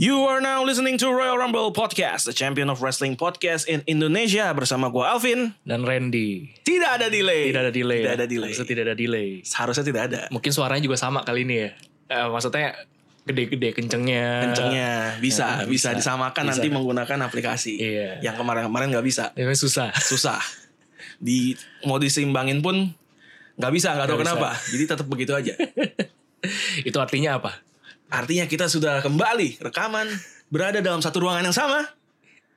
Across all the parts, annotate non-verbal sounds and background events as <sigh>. You are now listening to Royal Rumble Podcast, the champion of wrestling podcast in Indonesia bersama gue Alvin. dan Randy. Tidak ada delay. Tidak ada delay. Tidak ya? ada delay. Harusnya tidak ada delay. Seharusnya tidak ada. Mungkin suaranya juga sama kali ini ya. Eh, maksudnya gede-gede kencengnya. Kencengnya bisa, Eh, bisa, Ya, bisa. disamakan Bisa. nanti menggunakan aplikasi. Iya. Yang kemarin-kemarin nggak bisa, Ya, Memang susah. <laughs> susah. Di mau disimbangin pun nggak bisa, nggak tahu Nggak bisa. kenapa. Jadi tetap begitu aja. Itu artinya apa? Artinya kita sudah kembali rekaman berada dalam satu ruangan yang sama,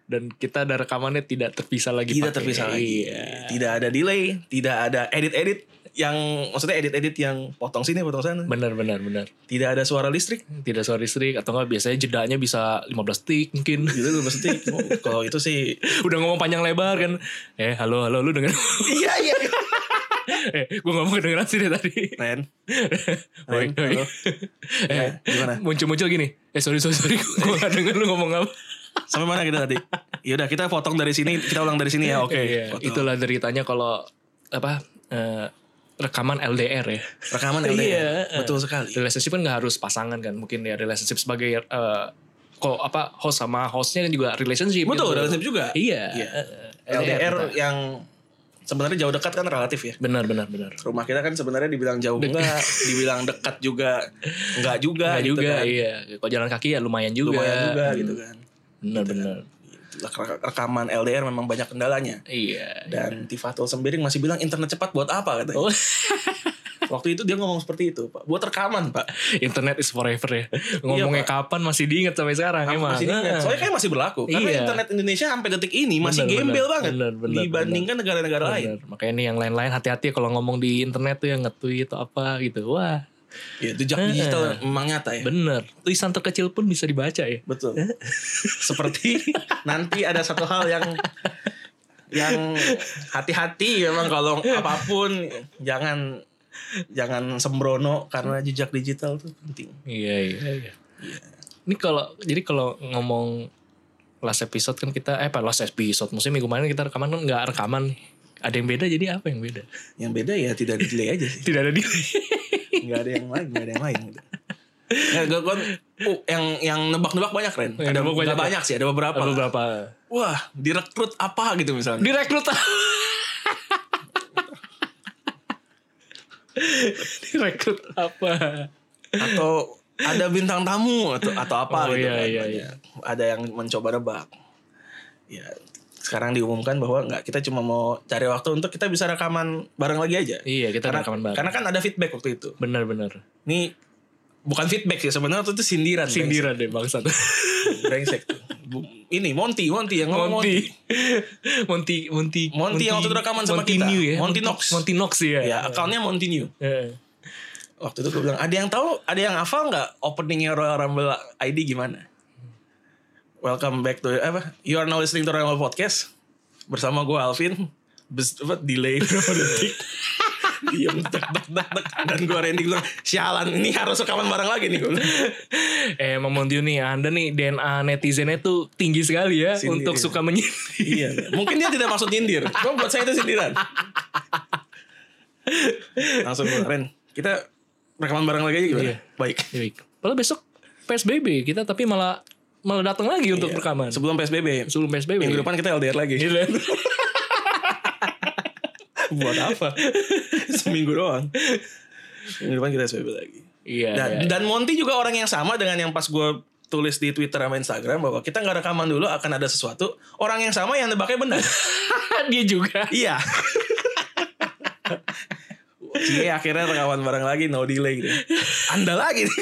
Dan kita ada rekamannya tidak terpisah lagi. tidak pakai- terpisah lagi. ya. Iya. Tidak ada delay, tidak ada edit-edit yang maksudnya edit-edit yang potong sini, potong sana. Benar, benar, benar. Tidak ada suara listrik. Tidak suara listrik atau enggak biasanya jedanya bisa 15 detik mungkin. <laughs> Gitu loh, maksudnya Oh, kalau itu sih Udah ngomong panjang lebar kan. Eh, halo, halo, lu denger. Iya, iya. <laughs> eh, gue ngomong kedengeran sih dari tadi. <laughs> Ren, Baik, Ren, baik. <laughs> halo. Eh, Ya, gimana? muncul-muncul gini. Eh, sorry, sorry, sorry. <laughs> Gue gak denger lu ngomong apa. Sampai mana kita tadi? Yaudah kita potong dari sini, kita ulang dari sini ya. Oke. Iya, Potong. itulah deritanya kalau apa eh, rekaman LDR ya. rekaman LDR. Iya, eh. Betul sekali. Relationship kan nggak harus pasangan kan, mungkin ya relationship sebagai eh, kok apa host sama hostnya kan juga relationship. Betul, gitu. relationship juga. Iya. Iya. eh, LDR kita. yang sebenarnya jauh dekat kan relatif ya. Benar, benar, benar. Rumah kita kan sebenarnya dibilang jauh enggak, dibilang dekat juga enggak juga Nggak gitu juga, kan. iya. Kok jalan kaki ya lumayan juga. Lumayan juga gitu kan. Benar, benar. Itulah, Rekaman LDR memang banyak kendalanya. Iya. <laughs> Dan Tifatul Sembiring masih bilang internet cepat buat apa katanya. Oh, <laughs> Waktu itu dia ngomong seperti itu, Pak. Buat rekaman, Pak. internet is forever ya. Ngomongnya kapan masih diingat sampai sekarang Iya, emang. masih diingat. Ah. Soalnya kayak masih berlaku. Karena Iya. internet Indonesia sampai detik ini masih Benar, gembel benar. banget Benar, benar, dibandingkan negara-negara lain. Benar. Makanya nih yang lain-lain hati-hati kalau ngomong di internet tuh yang nge-tweet atau apa gitu. Wah, Ya, jejak digital memang nyata ya. bener. Tulisan terkecil pun bisa dibaca ya. Betul. <laughs> Seperti nanti ada satu hal yang yang hati-hati memang kalau apapun jangan jangan sembrono karena jejak digital tuh penting. Iya, iya, iya. Ini kalau jadi kalau ngomong last episode kan kita eh apa last episode musim minggu kemarin kita rekaman kan nggak rekaman ada yang beda jadi apa yang beda Yang beda ya tidak di delay aja sih. <laughs> tidak ada delay Enggak ada yang lain, enggak ada yang lain. gitu. Ya, gue kan uh, yang yang nebak-nebak banyak Ren. Yang Ada nebak banyak, banyak ya? banyak sih, ada beberapa. Ada beberapa Wah, direkrut apa gitu misalnya. direkrut <laughs> direkrut apa Atau ada bintang tamu atau atau apa Oh, gitu. iya, kan, iya, banyak. Ada yang mencoba nebak. Ya, sekarang diumumkan bahwa nggak kita cuma mau cari waktu untuk kita bisa rekaman bareng lagi aja. iya kita karena, rekaman bareng karena kan ada feedback waktu itu. benar-benar Ini bukan feedback sih sebenarnya waktu itu sindiran. sindiran deh bangsat <laughs> Brengsek. Brengsek. Bu- Ini Monty, Monty yang ngomong Monty. Monty. Monty <laughs> Monty Monty yang waktu itu rekaman sama Monty kita. New ya. Monty Knox. Monty Knox ya. Ya, akunnya Monty New. Eh. Waktu itu gue bilang, ada yang tahu, ada yang hafal nggak openingnya Royal Rumble ID gimana? Welcome back to eh, apa? You are now listening to Royal Rumble Podcast bersama gue Alvin. Bes, apa, delay <laughs> berapa detik? Diem tek tek tek tek. dan gue Randy bilang sialan ini harus rekaman bareng lagi nih gue. <laughs> Eh, Emang Monty nih, Anda nih DNA netizennya tuh tinggi sekali ya Sindiran. untuk suka menyindir. iya, mungkin dia tidak maksud nyindir. Cuma buat saya itu sindiran. Langsung gue Ren, kita rekaman bareng lagi aja gimana? <laughs> Iya. Baik. Baik. Padahal besok PSBB kita tapi malah malah datang lagi untuk rekaman. Sebelum PSBB, Sebelum PSBB. Iya. minggu depan kita LDR lagi. Iya. Gitu. <laughs> buat apa seminggu doang minggu depan kita SPB lagi Iya. dan iya. <laughs> dan Monty juga orang yang sama dengan yang pas gue tulis di Twitter sama Instagram bahwa kita nggak rekaman dulu akan ada sesuatu orang yang sama yang nebaknya <laughs> benar Dia juga. iya Cie Iya, akhirnya rekaman bareng lagi no delay gitu. Anda lagi nih.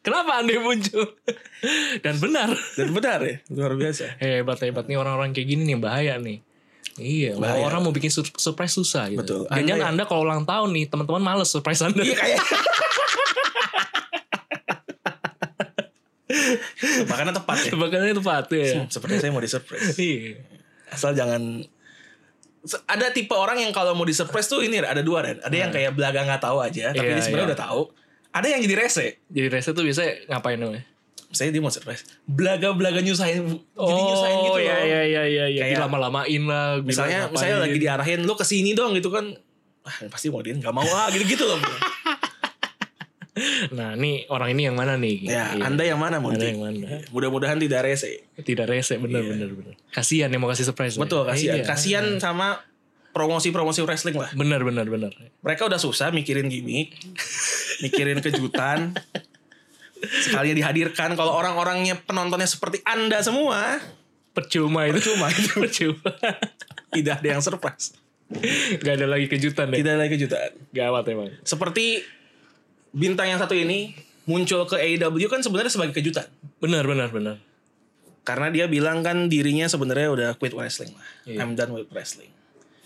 Kenapa Anda muncul? <laughs> Dan benar. Dan benar ya, luar biasa. Hebat hebat nih orang-orang kayak gini nih bahaya nih. Iya, Bahaya. orang mau bikin sur- surprise susah gitu. Betul. Dan jangan Anda- Anda kalau ulang tahun nih, teman-teman males surprise Anda. <laughs> Iya <laughs> kayak Makanya tepat ya. Tebakannya tepat ya. Seperti saya mau di surprise. Iya. asal jangan Se- ada tipe orang yang kalau mau di surprise tuh ini Ren, ada dua Ren ada yang kayak belaga nggak tahu aja tapi Nah. Iya, dia sebenarnya iya. udah tahu ada yang jadi rese Jadi rese tuh biasanya ngapain namanya? saya dia mau surprise belaga belaga nyusahin jadi nyusahin gitu iya, loh iya iya iya iya. Kayak- Dilama-lamain lah. bilang misalnya ngapain. misalnya lagi diarahin lu kesini dong gitu kan ah, pasti mau dia nggak mau ah gitu gitu loh nah ini orang ini yang mana nih? Ya, <laughs> Iya. Anda yang mana Anda Munti? yang mana? Mudah-mudahan tidak rese. Tidak rese bener bener bener. Kasihan yang mau kasih surprise. Iya. Betul, ya. kasihan. Iya. Kasihan sama promosi-promosi wrestling lah. Bener bener bener. Mereka udah susah mikirin gimmick, <laughs> mikirin kejutan. Sekalinya dihadirkan kalau orang-orangnya penontonnya seperti Anda semua, Percuma itu. cuma itu <laughs> Percuma. tidak ada yang surprise. Gak ada lagi kejutan deh. Tidak ada kejutan. Gawat emang. Seperti bintang yang satu ini muncul ke AEW kan sebenarnya sebagai kejutan. Bener bener bener. Karena dia bilang kan dirinya sebenarnya udah quit wrestling lah. Iya. I'm done with wrestling.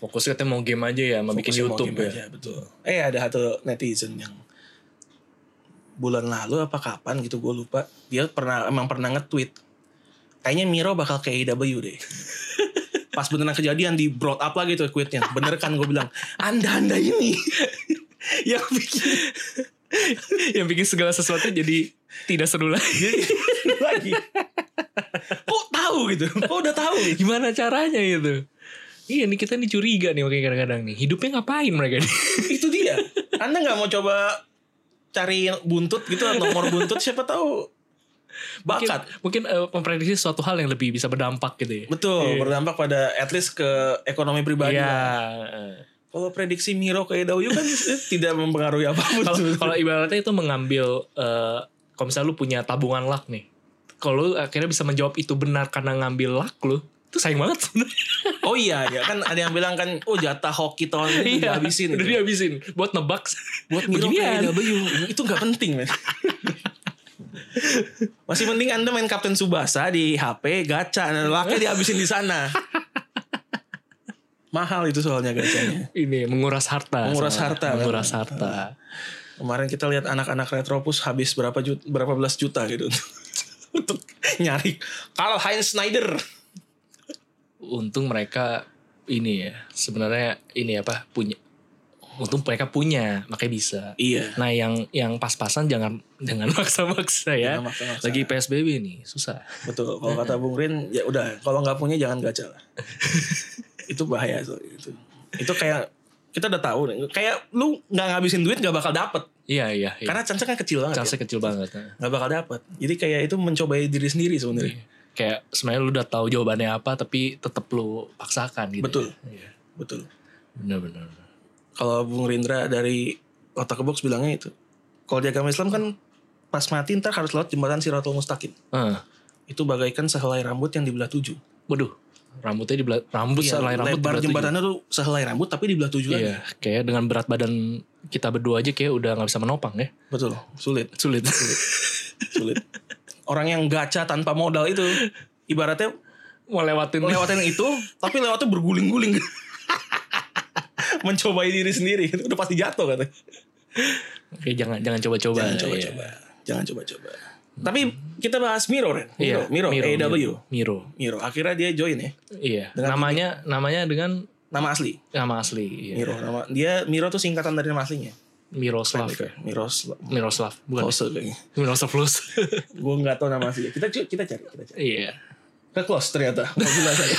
Fokusnya katanya mau game aja ya, mau bikin Fokusnya mau YouTube game ya. aja, betul. Eh ada satu netizen yang bulan lalu apa kapan gitu gue lupa. Dia pernah emang pernah nge-tweet. Kayaknya Miro bakal ke AEW <laughs> deh. Pas beneran kejadian di brought up lagi tuh tweetnya. Bener kan gue bilang, anda-anda ini <laughs> yang bikin <laughs> yang bikin segala sesuatu jadi tidak seru lagi. <laughs> <laughs> lagi. Kok tahu gitu? Kok udah tahu? gitu? Gimana caranya gitu? Iya nih kita nih curiga nih makanya kadang-kadang nih. Hidupnya ngapain mereka nih? <laughs> Itu dia. Anda nggak mau coba cari buntut gitu nomor buntut siapa tahu Mungkin, bakat. mungkin eh, memprediksi suatu hal yang lebih bisa berdampak gitu ya. Betul, berdampak pada at least ke ekonomi pribadi. Iya. lah. Kalau prediksi Miro ke EW kan <laughs> tidak mempengaruhi apapun. <laughs> Kalau sebenarnya. kalau ibaratnya itu mengambil eh kalau misalnya lu punya tabungan luck nih. Kalau lu akhirnya bisa menjawab itu benar karena ngambil luck lu, itu <laughs> sayang banget sebenarnya. oh iya, ya kan ada yang bilang kan, oh jatah hoki tahun ini Iya, udah habisin. Udah dihabisin buat nebak. Buat ya, Miro beginian. ke EW <laughs> itu nggak penting, men. Masih penting Anda main Kapten Subasa di HP gacha dan lucknya dihabisin di sana. <laughs> Mahal itu soalnya gacanya. Ini menguras harta. Menguras soalnya. harta, kan? Menguras memang. harta. Kemarin kita lihat anak-anak Retropus habis berapa juta, berapa belas juta gitu untuk <laughs> nyari Karl Heinz Schneider. Untung mereka ini ya. Sebenarnya ini apa punya. Untung mereka punya, makanya bisa. Iya. Nah yang yang pas-pasan jangan jangan <laughs> maksa-maksa ya. Jangan maksa-maksa. Lagi PSBB nih susah. Betul. Kalau kata Bung Rin, ya udah. Kalau nggak punya jangan gacha <laughs> lah. itu bahaya so, itu. Itu kayak kita udah tahu nih. Kayak lu nggak ngabisin duit nggak bakal dapet. Iya iya. iya. Karena chance kan kecil banget. ya. chance kecil Iya. banget. Nggak bakal dapet. Jadi kayak itu mencobai diri sendiri sebenarnya. Kayak sebenarnya lu udah tahu jawabannya apa tapi tetap lu paksakan gitu. Betul. Iya. Betul. Benar-benar. Kalau Bung Rindra dari otak ke box bilangnya itu. Kalau di agama Islam kan pas mati ntar harus lewat jembatan Siratul Mustaqim. Heeh. Itu bagaikan sehelai rambut yang dibelah tujuh. Waduh. Rambutnya di belah, rambut Iya, selai rambut lebar dibelah tujuh. jembatannya tuh sehelai rambut tapi dibelah tujuh kan. Iya, kayak dengan berat badan kita berdua aja kayak udah nggak bisa menopang ya. Betul, sulit. Sulit. sulit. Orang yang gacha tanpa modal itu ibaratnya Mau lewatin lewatin <laughs> itu tapi lewatnya berguling-guling. <laughs> Mencobai diri sendiri itu udah pasti jatuh katanya. Oke, jangan jangan Jangan coba-coba. Iya. coba-coba. Jangan coba-coba. Tapi kita bahas Miro, Ren. Iya, Miro, Miro, AEW. Miro. Miro. Miro. Akhirnya dia join ya. Iya. Dengan namanya namanya dengan Nama asli. nama asli. Iya. Miro. Nama, dia Miro tuh singkatan dari nama aslinya. Miroslav. ya. Miro Miroslav, bukan. ya? Klose kayaknya. Miroslav Lus. Gue gak tau nama aslinya. Kita, kita cari, kita cari. <laughs> Iya. Ke close <laughs> ternyata. Alhamdulillah saya.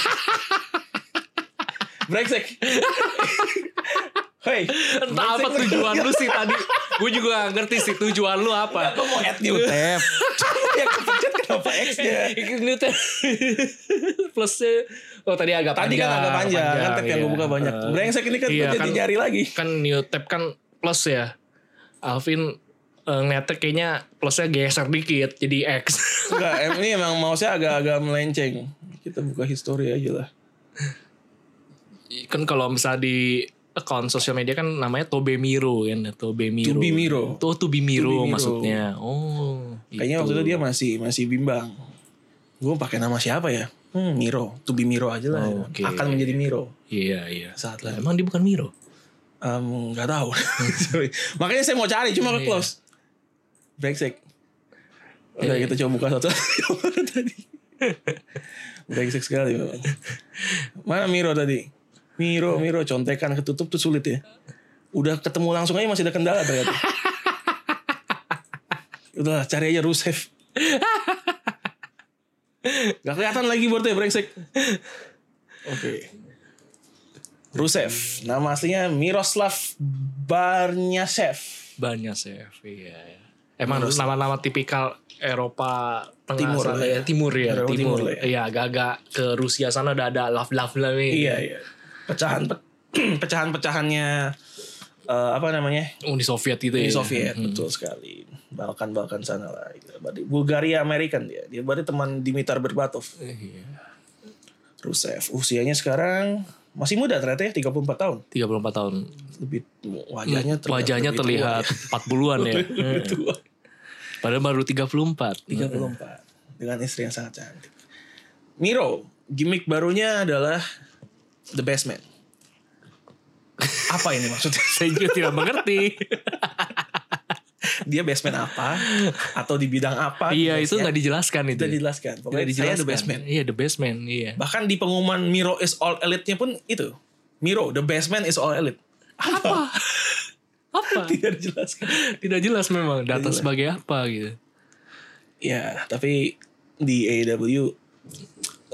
Brengsek. Hei. Entah apa tujuan lu sih tadi. Gue juga gak ngerti sih tujuan lu apa. Gue mau add new tab. <laughs> ya kepencet kenapa X-nya? Ini teh <laughs> plusnya oh tadi agak Tadi kan panjang. agak panjang. kan tab yang iya. gue buka banyak. Eh, Brengsek ini kan iya, gua jadi kan- nyari lagi. kan new tab kan plus ya. Alvin eh, ngeliatnya kayaknya plusnya geser dikit jadi X. Enggak, em- ini emang mouse-nya agak-agak melenceng. Kita buka history aja lah. kan kalau misalnya di account sosial media kan namanya Tobe Miro kan Tobe To Miro be Miro. tuh Tobe To Miro be Miro. maksudnya oh Kayaknya waktu itu dia masih masih bimbang. Gue pakai nama siapa ya? Hmm, Miro. To be Miro aja lah. Oh, oke. Akan menjadi Miro. iya iya Saat lagi. emang dia bukan Miro Em, nggak tahu. <laughs> Sorry. Makanya saya mau cari cuma ke close. Brengsek. Udah kita coba buka satu <laughs> tadi. Brengsek sekali. Bang. Mana Miro tadi? Miro, Miro contekan ketutup tuh sulit ya. Udah ketemu langsung aja masih ada kendala ternyata. Udah cari aja Rusev. Gak kelihatan lagi bortnya brengsek. Oke. Rusev. Nama aslinya Miroslav Barnyasev. banyak sih iya, iya. Emang nama-nama tipikal Eropa Tengah Timur sana lah ya. Timur ya, Eropa Timur. Timur lah ya. Iya, agak-agak ke Rusia sana udah ada love love lah nih. Iya iya. Pecahan pe- <clears throat> pecahan-pecahannya eh, apa namanya? Uni Soviet gitu Uni ya. Soviet betul sekali. Balkan Balkan sana lah. gitu. Berarti Bulgaria American dia. Dia berarti teman Dimitar Berbatov. Iya. Rusev usianya sekarang masih muda ternyata ya 34 tahun. 34 tahun. Lebih wajahnya terlihat Wajahnya lebih tua terlihat 40-an <laughs> ya. ya. Lebih tua. Padahal baru 34. Iya. 34 dengan istri yang sangat cantik. Miro, gimmick barunya adalah The Best Man. Apa ini maksudnya? <laughs> Saya juga tidak mengerti. Dia best man apa? Atau di bidang apa? Iya, Jelas itu ya. nggak dijelaskan itu. Tidak dijelaskan. Pokoknya Nggak saya dijelaskan. The Best Man. Iya, the best man. Iya. Bahkan di pengumuman Miro is all elite-nya pun itu. Miro, The Best Man is all elite. <laughs> Apa? apa? Tidak dijelaskan. Tidak jelas memang data sebagai apa gitu. Ya, tapi di AEW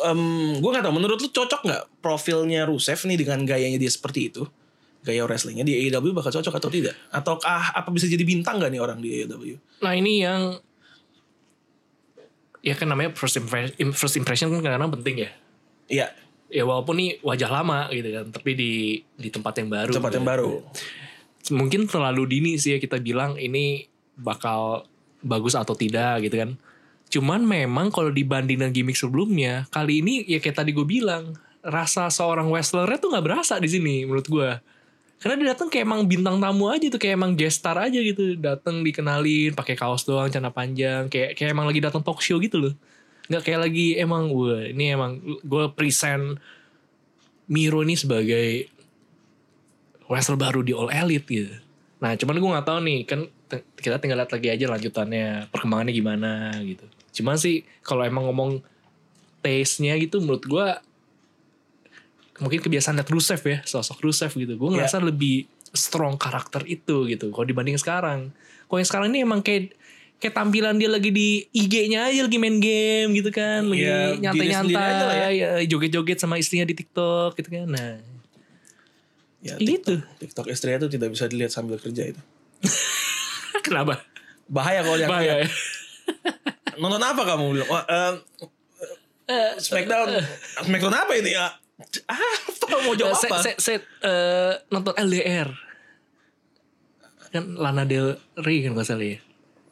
em gue gak tau menurut lu cocok nggak profilnya Rusev nih dengan gayanya dia seperti itu gaya wrestlingnya di AEW bakal cocok atau tidak atau ah, apa bisa jadi bintang gak nih orang di E AEW Nah, ini yang ya kan namanya first impression, first impression kan kadang-kadang penting ya. Iya Ya walaupun nih wajah lama gitu kan, tapi di di tempat yang baru. tempat yang gitu. baru Mungkin terlalu dini sih ya kita bilang ini bakal bagus atau tidak gitu kan. Cuman memang kalau dibanding dengan gimmick sebelumnya, kali ini ya kayak tadi gue bilang, rasa seorang wrestler tuh nggak berasa di sini menurut gue. Karena dia datang kayak emang bintang tamu aja tuh, kayak emang guest star aja gitu. Datang dikenalin, pakai kaos doang, celana panjang, kayak kayak emang lagi datang talk show gitu loh. Nggak kayak lagi emang gue, ini emang gue present Miro ini sebagai wrestler baru di All Elite gitu. Nah cuman gue nggak tahu nih, kan te- kita tinggal lihat lagi aja lanjutannya, perkembangannya gimana gitu. Cuman sih kalau emang ngomong taste-nya gitu menurut gue mungkin kebiasaan liat Rusev ya sosok Rusev gitu Iya. gue ngerasa lebih strong karakter itu gitu kalau dibanding sekarang kalau yang sekarang ini emang kayak kayak tampilan dia lagi di IG-nya aja lagi main game gitu kan lagi Iya, diri sendiri aja lah nyantai-nyantai ya, joget-joget sama istrinya di TikTok gitu kan nah <laughs> ya Gitu. TikTok, TikTok istrinya tuh tidak bisa dilihat sambil kerja itu kenapa bahaya kalau yang bahaya ya? nonton apa kamu bilang Wah, eh, eh, Nah, Smackdown Smackdown apa ini ah, <laughs> apa mau jawab Eh, saya, apa saya, saya, eh, nonton LDR kan Lana Del Rey kan gak salah ya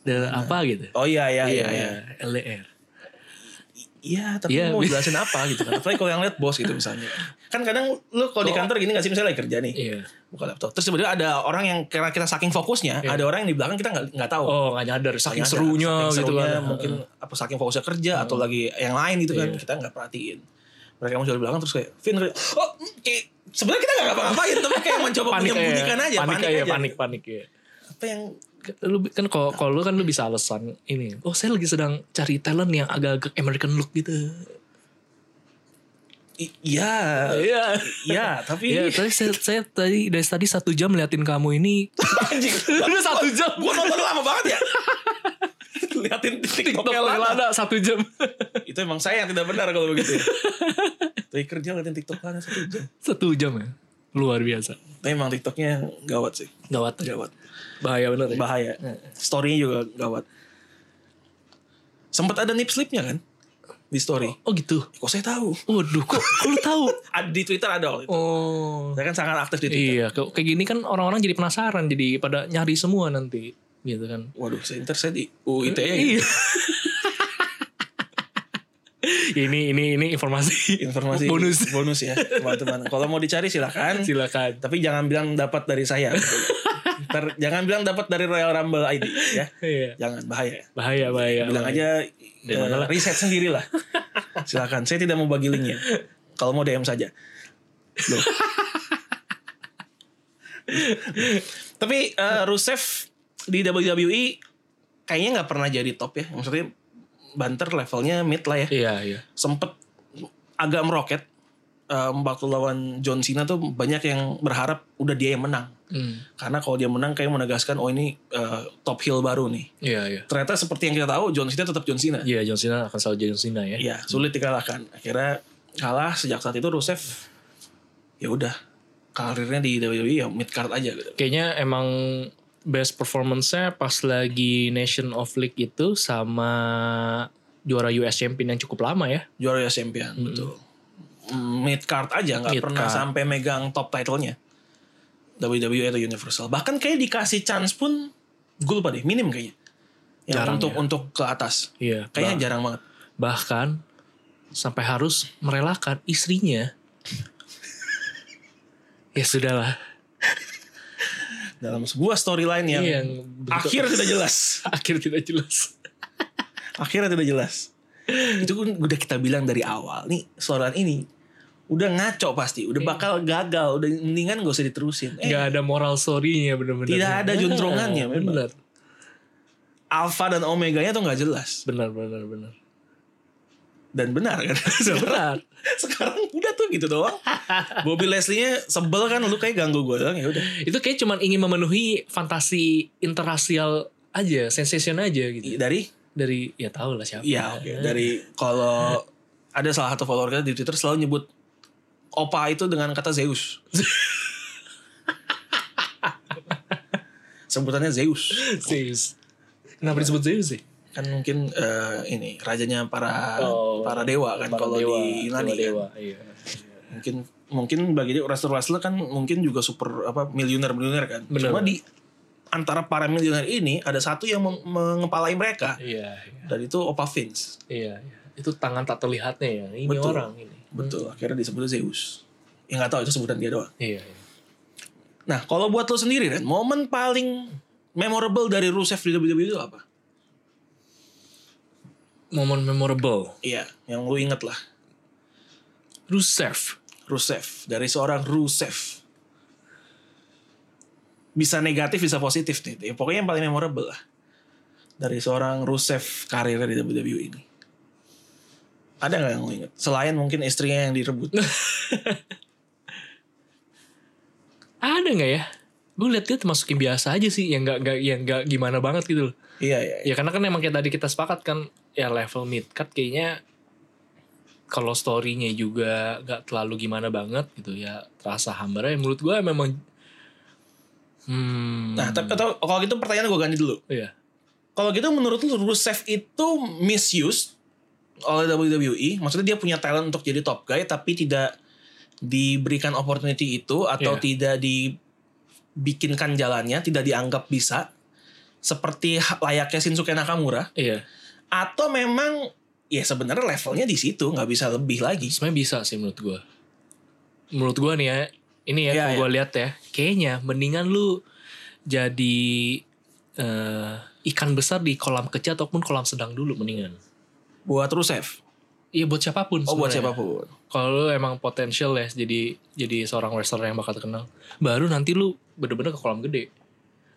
Del apa gitu oh iya iya iya iya LDR Iya, tapi Iya, lu mau bi- jelasin apa gitu kan. Apalagi kalau yang lihat bos gitu misalnya. Kan kadang lu kalau di kantor gini gak sih misalnya lagi kerja nih. iya Buka laptop. Terus tiba-tiba ada orang yang karena kita saking fokusnya, ada orang yang di belakang kita nggak nggak tahu. Iya. Oh nggak nyadar Nggak saking ada. serunya Saking gitu serunya, kan. Hmm. Iya. Mungkin apa saking fokusnya kerja atau lagi yang lain gitu kan. Kita nggak perhatiin. Mereka muncul di belakang terus kayak, Vin, oh kayak, sebenarnya kita nggak ngapa-ngapain, tapi <laughs> kayak mencoba menyembunyikan aja, panik, panik, aja, aja. panik, panik ya. Apa yang Lu bi- kan kalau kalau lu kan lu bisa alasan ini. Oh saya lagi sedang cari talent yang agak-agak American look gitu. i- Iya, <laughs> Iya. iya, tapi Iya, tapi saya, saya tadi dari tadi satu jam liatin kamu ini. <laughs> anjing. Udah <laughs> satu jam. Gue nonton lama banget ya. <laughs> Liatin TikToknya TikTok Lana. ada satu jam. <laughs> Itu emang saya yang tidak benar kalau <laughs> begitu. ya. Tapi kerja ngeliatin TikTok Lana satu jam. satu jam ya. Luar biasa. Tapi emang TikToknya gawat sih. Gawat. Gawat. Bahaya bener ya. Bahaya. Story-nya juga gawat. Sempat ada nip slipnya kan? Di story. Oh gitu. Kok saya tahu? Waduh kok, kok lu tahu? Ada- Di Twitter ada waktu itu. Oh. Saya kan sangat aktif di Twitter. Iya, kayak kayak gini kan orang-orang jadi penasaran, jadi pada nyari semua nanti, gitu kan. Waduh, saya ntar saya di UIT ya. Iya. <laughs> ini ini ini informasi Informasi bonus bonus ya teman-teman. Kalau mau dicari silakan. silakan. Tapi jangan bilang dapat dari saya. Ntar jangan bilang dapat dari Royal Rumble ID ya. Iya. Jangan bahaya. Bahaya bahaya. bilang bahaya. aja eh, riset sendiri lah silakan saya tidak mau bagi linknya kalau mau DM saja Loh. tapi eh, Rusev di WWE kayaknya nggak pernah jadi top ya maksudnya banter levelnya mid lah ya Iya iya. sempet agak meroket Em, waktu lawan John Cena tuh banyak yang berharap udah dia yang menang Hmm. karena kalau dia menang kayak menegaskan oh ini eh, top heel baru nih Iya iya. ternyata seperti yang kita tahu John Cena tetap John Cena Iya John Cena akan selalu jadi John Cena ya. Iya, sulit dikalahkan. Akhirnya kalah sejak saat itu Rusev ya udah karirnya di WWE ya mid card aja gitu. Kayaknya emang best performance-nya pas lagi Nation of League itu sama juara US Champion yang cukup lama ya. Juara US Champion, betul. Mid card aja nggak Mid pernah card. sampai megang top title-nya. WWE atau Universal. Bahkan kayak dikasih chance pun gue lupa deh, minim kayaknya. Yang Jarang untuk ya. untuk ke atas. Iya. Kayaknya jarang banget. bahkan sampai harus merelakan istrinya. <laughs> ya sudahlah. Dalam sebuah storyline yang, Iya, yang bentuk- akhir tidak jelas. Akhir tidak jelas. akhirnya tidak <laughs> jelas itu kan udah kita bilang dari awal nih soalan ini udah ngaco pasti udah bakal gagal udah mendingan gak usah diterusin eh, Iya. Nggak ada moral story-nya bener-bener. Tidak ada Nah, jontrongannya, memang. Bener. alfa dan omeganya tuh nggak jelas Bener, bener, bener. dan benar kan Benar. <laughs> sekarang udah tuh gitu doang Bobby Leslie-nya sebel kan lu kayak ganggu gue doang ya udah Itu kayak cuman ingin memenuhi fantasi interrasial aja, sensation aja gitu. dari Dari, ya tau lah siapa. ya oke dari kalau ada salah satu follower kita di Twitter selalu nyebut opa itu dengan kata Zeus sebutannya Zeus Zeus. Kenapa disebut Zeus sih? kan mungkin eh, ini rajanya para Oh, para dewa kan kalau di Yunani kan. dewa, iya. mungkin mungkin bagi dia wrestler wrestler kan mungkin juga super apa miliuner miliuner kan Bener. cuma di antara para miliuner ini ada satu yang meng- mengepalai mereka Iya, dan itu Opa Vince iya, iya. Itu tangan tak terlihatnya ya. Ini Betul. orang ini. betul akhirnya disebut Zeus yang nggak tahu itu sebutan dia doang Iya, iya. nah kalau buat lo sendiri Ren momen paling memorable dari Rusev di WWE itu apa Momen memorable. iya yang lo inget lah Rusev. Rusev dari seorang Rusev bisa negatif bisa positif nih Ya, pokoknya yang paling memorable lah dari seorang Rusev karirnya di WWE ini ada nggak yang lo inget selain mungkin istrinya yang direbut Ada nggak ya? Gue liat dia termasuk yang biasa aja sih, yang nggak nggak yang nggak gimana banget gitu loh. iya iya iya. Ya karena kan emang kayak tadi kita sepakat kan, ya level mid card kayaknya kalau story-nya juga nggak terlalu gimana banget gitu ya terasa hambar ya menurut gue memang hmm nah tapi atau kalau gitu pertanyaan gue ganti dulu iya kalau gitu menurut lu Rusev itu misused oleh WWE maksudnya dia punya talent untuk jadi top guy tapi tidak diberikan opportunity itu atau Iya. tidak dibikinkan jalannya tidak dianggap bisa seperti ha- layaknya Shinsuke Nakamura iya atau memang ya sebenarnya levelnya di situ nggak bisa lebih lagi sebenarnya bisa sih menurut gue menurut gue nih ya ini ya Iya, kalau iya. gue lihat ya kayaknya mendingan lu jadi eh, ikan besar di kolam kecil ataupun kolam sedang dulu mendingan buat Rusev iya buat siapapun oh buat sebenarnya. siapapun kalau lu emang potensial ya jadi jadi seorang wrestler yang bakal terkenal baru nanti lu bener-bener ke kolam gede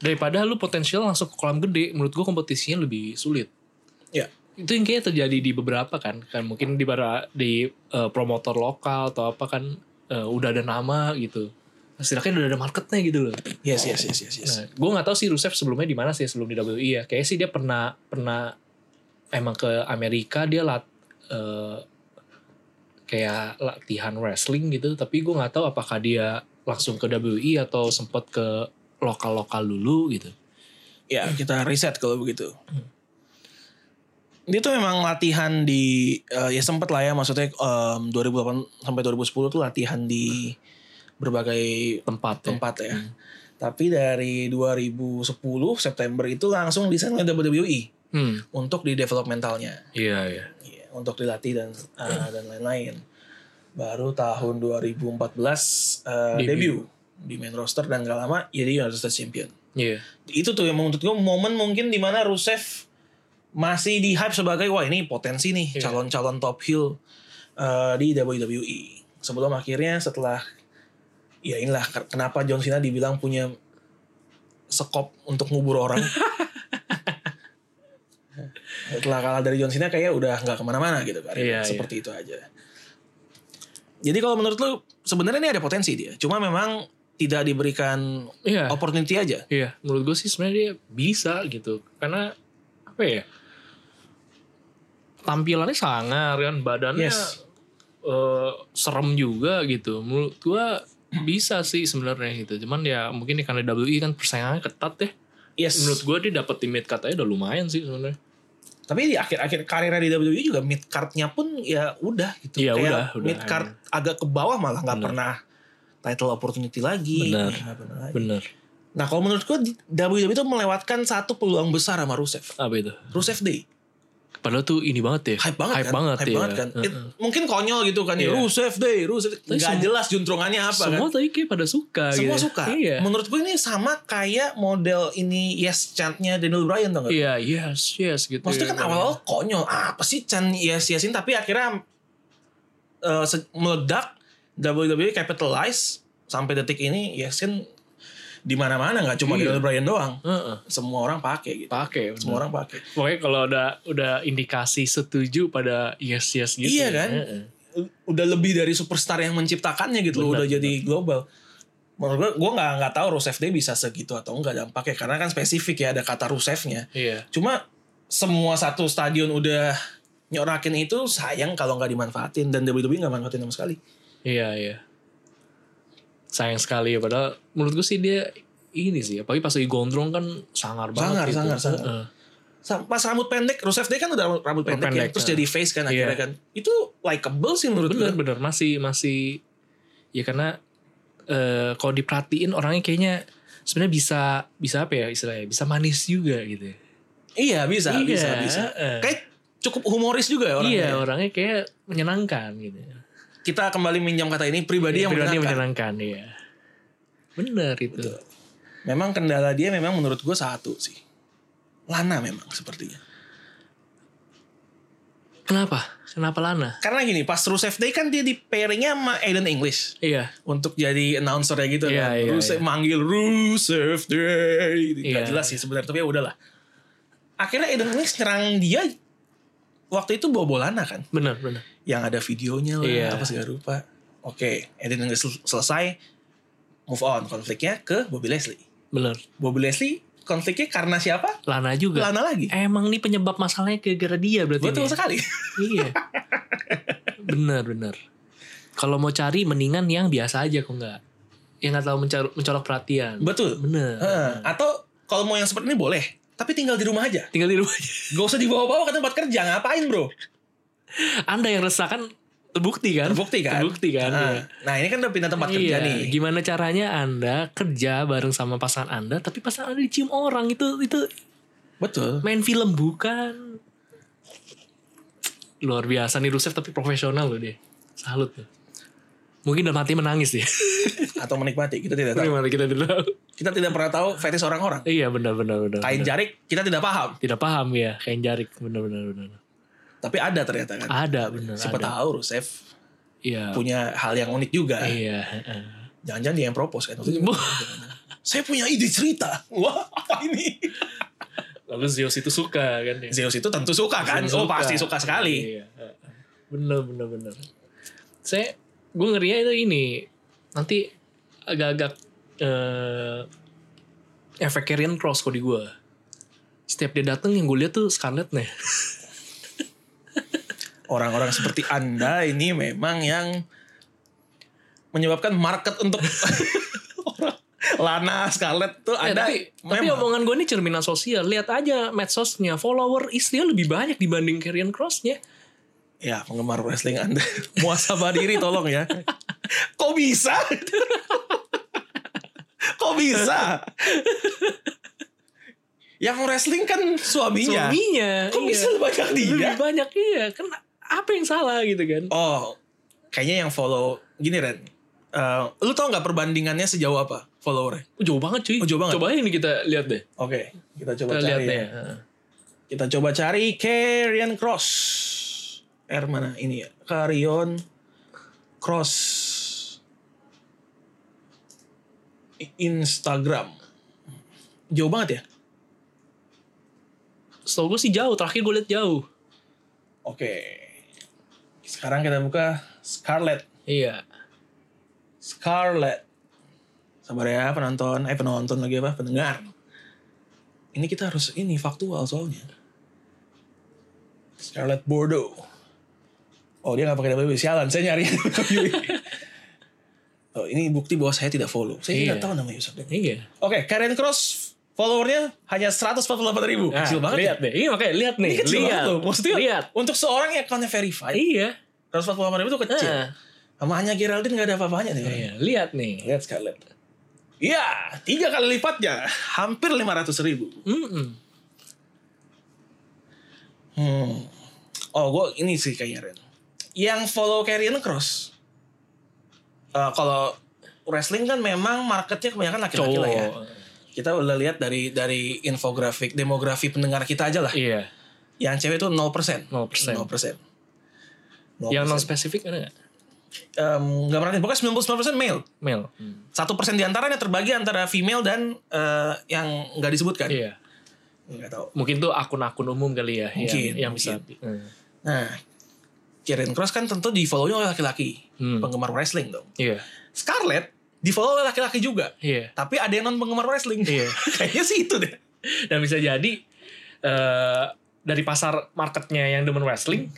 daripada lu potensial langsung ke kolam gede menurut gue kompetisinya lebih sulit ya itu yang kayak terjadi di beberapa kan kan mungkin di para di eh, promotor lokal atau apa kan eh, udah ada nama gitu setidaknya udah ada marketnya gitu loh yes yes yes yes, yes. nah, gue nggak tahu sih Rusev sebelumnya di mana sih sebelum di WWE ya kayaknya sih dia pernah pernah emang ke Amerika dia lat eh, kayak latihan wrestling gitu tapi gue nggak tahu apakah dia langsung ke WWE atau sempat ke lokal lokal dulu gitu ya kita riset kalau begitu dia tuh memang latihan di eh, ya sempat lah ya maksudnya em, 2008 sampai 2010 tuh latihan di berbagai tempat ya. tempat ya tapi dari 2010 September itu langsung desain oleh WWE hmm untuk di developmentalnya iya iya Iya, untuk dilatih dan eh, dan lain-lain baru tahun 2014 eh, Debut. debut di main roster dan gak lama jadi United States Champion iya itu tuh yang menurut gue momen mungkin dimana Rusev masih di hype sebagai wah ini potensi nih Iya. calon-calon top heel uh, di WWE sebelum akhirnya setelah ya inilah ke- kenapa John Cena dibilang punya sekop untuk ngubur <laughs> orang setelah kalah dari John Cena kayaknya udah nggak kemana-mana gitu kan Iya, seperti itu aja jadi kalau menurut lu sebenarnya ini ada potensi dia cuma memang tidak diberikan iya opportunity aja Iya, menurut gue sih sebenarnya dia bisa gitu. Karena apa ya? Tampilannya sangar kan, badannya Yes. eh, serem juga gitu. Menurut gue bisa sih sebenarnya gitu. Cuman ya mungkin ya karena WWE kan persaingannya ketat deh. Yes. menurut gue dia dapat teammate katanya udah lumayan sih sebenarnya. Tapi di akhir-akhir karirnya di WWE juga mid card-nya pun ya udah gitu. Iya, Kayak udah, udah, mid card agak ke bawah malah nggak Bener. pernah title opportunity lagi. Bener. nggak pernah lagi. Bener. Nah kalau menurut gue di- WWE itu melewatkan satu peluang besar sama Rusev. Apa itu? Rusev Day. Padahal tuh ini banget ya. Hype banget hype kan? Banget hype ya. banget kan? It- Heeh. mungkin konyol gitu kan. ya Iya. Rusev Day, Rusev Day. Tapi Nggak semua- jelas juntrungannya apa kan? Semua tadi kayak pada suka Semua gitu. suka. Iya. Menurut gue ini sama kayak model ini yes chant-nya Daniel Bryan tau gak? Iya, yes, yes gitu. Maksudnya kan ya. awal-awal konyol. Apa sih Chan yes yesin tapi akhirnya eh, se- meledak WWE capitalize sampai detik ini yesin di mana-mana nggak cuma Iya. Daniel Bryan doang. Heeh. Semua orang pakai gitu. Pakai. bener. Semua orang pakai. Pokoknya kalau udah udah indikasi setuju pada yes yes gitu. Iya kan? Heeh. Udah lebih dari superstar yang menciptakannya gitu loh, Benar, udah jadi global. Menurut gue, gue nggak nggak tahu Rusev Day bisa segitu atau enggak dampaknya karena kan spesifik ya ada kata Rusevnya. Iya. Cuma semua satu stadion udah nyorakin itu sayang kalau nggak dimanfaatin dan WWE nggak manfaatin sama sekali. Iya iya. Sayang sekali ya padahal menurut gue sih dia ini sih apalagi pas lagi gondrong kan Sangar, sangar banget gitu. sangar, sangar. Heeh. Sa- Pas rambut pendek, Rusev Day kan udah rambut pendek, ya, Pendek, terus ya. jadi face kan akhirnya Iya. kan. Itu likable sih menurut Bener gue. bener masih masih ya karena eh kalau diperhatiin orangnya kayaknya sebenarnya bisa bisa apa ya istilahnya bisa manis juga gitu. Iya bisa, Iya, bisa, bisa. eh. Kayak cukup humoris juga ya orangnya. iya orangnya kayak menyenangkan gitu. Kita kembali minjam kata ini pribadi yang Iya, Pribadi menyenangkan. menyenangkan ya. Bener itu. Betul. Memang kendala dia memang menurut gue satu sih. Lana memang sepertinya. Kenapa? Kenapa Lana? Karena gini, pas Rusev Day kan dia di pairingnya sama Aiden English. Iya. untuk jadi announcer gitu Iya, kan. iya, Rusev iya. manggil Rusev Day. Gitu. Nggak Iya. jelas sih sebenarnya tapi ya udahlah. Akhirnya Aiden English nyerang dia waktu itu bobolana kan. Bener bener. Yang ada videonya lah Iya. apa segala rupa. Oke, Aiden English sel- selesai move on konfliknya ke Bobby Leslie. Bener. Bobby Leslie konfliknya karena siapa? Lana juga. Lana lagi. Emang nih penyebab masalahnya gara-gara dia berarti. Betul nih. sekali. <laughs> Iya. bener bener. Kalau mau cari mendingan yang biasa aja kok nggak. Yang nggak tahu mencolok, mencolok perhatian. Betul. Bener. Heeh. atau kalau mau yang seperti ini boleh, tapi tinggal di rumah aja. Tinggal di rumah aja. Gak usah dibawa-bawa ke tempat kerja, ngapain bro? <laughs> Anda yang resahkan terbukti kan? Terbukti kan? Terbukti kan. Nah, iya. nah, ini kan udah pindah tempat kerja Iya, nih. Gimana caranya Anda kerja bareng sama pasangan Anda, tapi pasangan Anda dicium orang itu itu Betul. main film bukan luar biasa nih Rusev tapi profesional loh dia salut tuh mungkin dalam hati menangis dia Atau menikmati, kita tidak tahu. gimana kita tidak tahu. Kita tidak pernah tahu fetish orang-orang. <laughs> iya benar benar benar Kain jarik kita tidak paham, tidak paham ya kain jarik benar benar benar tapi ada ternyata kan. ada Ah, benar Siapa ada tahu Rusev iya punya hal yang unik juga. iya heeh. Jangan-jangan dia yang propose kan. Waktu itu, Saya punya ide cerita. Wah, apa ini? lalu Zeus itu suka kan ya Zeus itu tentu suka kan? Zeus Oh, suka. pasti suka sekali. iya heeh. benar benar benar saya gue ngerinya itu ini nanti agak-agak eh, efek carrion cross kok di gue setiap dia dateng yang gue lihat tuh Scarlett nih Orang-orang seperti Anda ini memang yang menyebabkan market untuk <laughs> orang Lana Scarlett tuh Eh, ada tapi, tapi omongan gue ini cerminan sosial lihat aja medsosnya follower istrinya lebih banyak dibanding carrion crossnya Ya, penggemar wrestling <laughs> Anda. Muasabah diri tolong ya. Kok bisa? Kok bisa? Yang wrestling kan suaminya. suaminya Kok iya. bisa banyak dia? lebih banyak iya kan apa yang salah gitu kan Oh, kayaknya yang follow gini Ren. Eh, lu tau nggak perbandingannya sejauh apa followernya? jauh banget cuy Oh, jauh banget. coba aja nih kita lihat deh Oke, kita coba kita lihat cari. deh ya. heeh. Kita coba cari Carrion Cross. R mana ini ya? Carrion Cross. I- Instagram. Jauh banget ya? Setahu gue sih jauh, terakhir gue liat jauh. Oke. Sekarang kita buka Scarlett. Iya. Scarlett. Sabar ya penonton. Eh penonton lagi apa? Pendengar. Ini kita harus ini faktual soalnya. Scarlett Bordeaux. Oh dia gak pakai WWE. Sialan saya nyari <laughs> WWE. oh, ini bukti bahwa saya tidak follow. Saya Iya. tidak tahu nama usernya. Oke, Iya. Karen Cross followernya hanya 148 ribu. Nah, kecil banget. ya. lihat deh. Iya makanya lihat nih. Ini kecil lihat. banget loh. Maksudnya lihat. untuk seorang yang accountnya verified, Iya. 148 ribu itu kecil. Ah, Sama Hanya Geraldine gak ada apa-apanya nih. iya, lihat nih. Lihat Scarlett. Iya, tiga kali lipatnya. Hampir 500 ribu. Mm-mm. Hmm. Oh, gue ini sih kayaknya Ren. Yang follow Karrion Cross. Eh kalau wrestling kan memang marketnya kebanyakan laki-laki Cowok. lah ya. Kita udah lihat dari dari infografik demografi pendengar kita aja lah. Iya. Yang cewek itu 0%. 0%. 0%. 0%. Yang non spesifik ada nggak? Em, nggak perhatiin. Pokoknya 99% male. Male. Satu persen diantaranya terbagi antara female dan eh, yang nggak disebutkan. Iya. Nggak tahu. Mungkin tuh akun-akun umum kali ya yang- Mungkin, yang, bisa. Hmm. Nah, Karen Cross kan tentu di follow-nya oleh laki-laki, Hmm. penggemar wrestling dong. Iya. Scarlett di follow oleh laki-laki juga. Iya. Tapi ada yang non penggemar wrestling. Iya. <laughs> Kayaknya sih itu deh. Dan bisa jadi eh dari pasar marketnya yang demen wrestling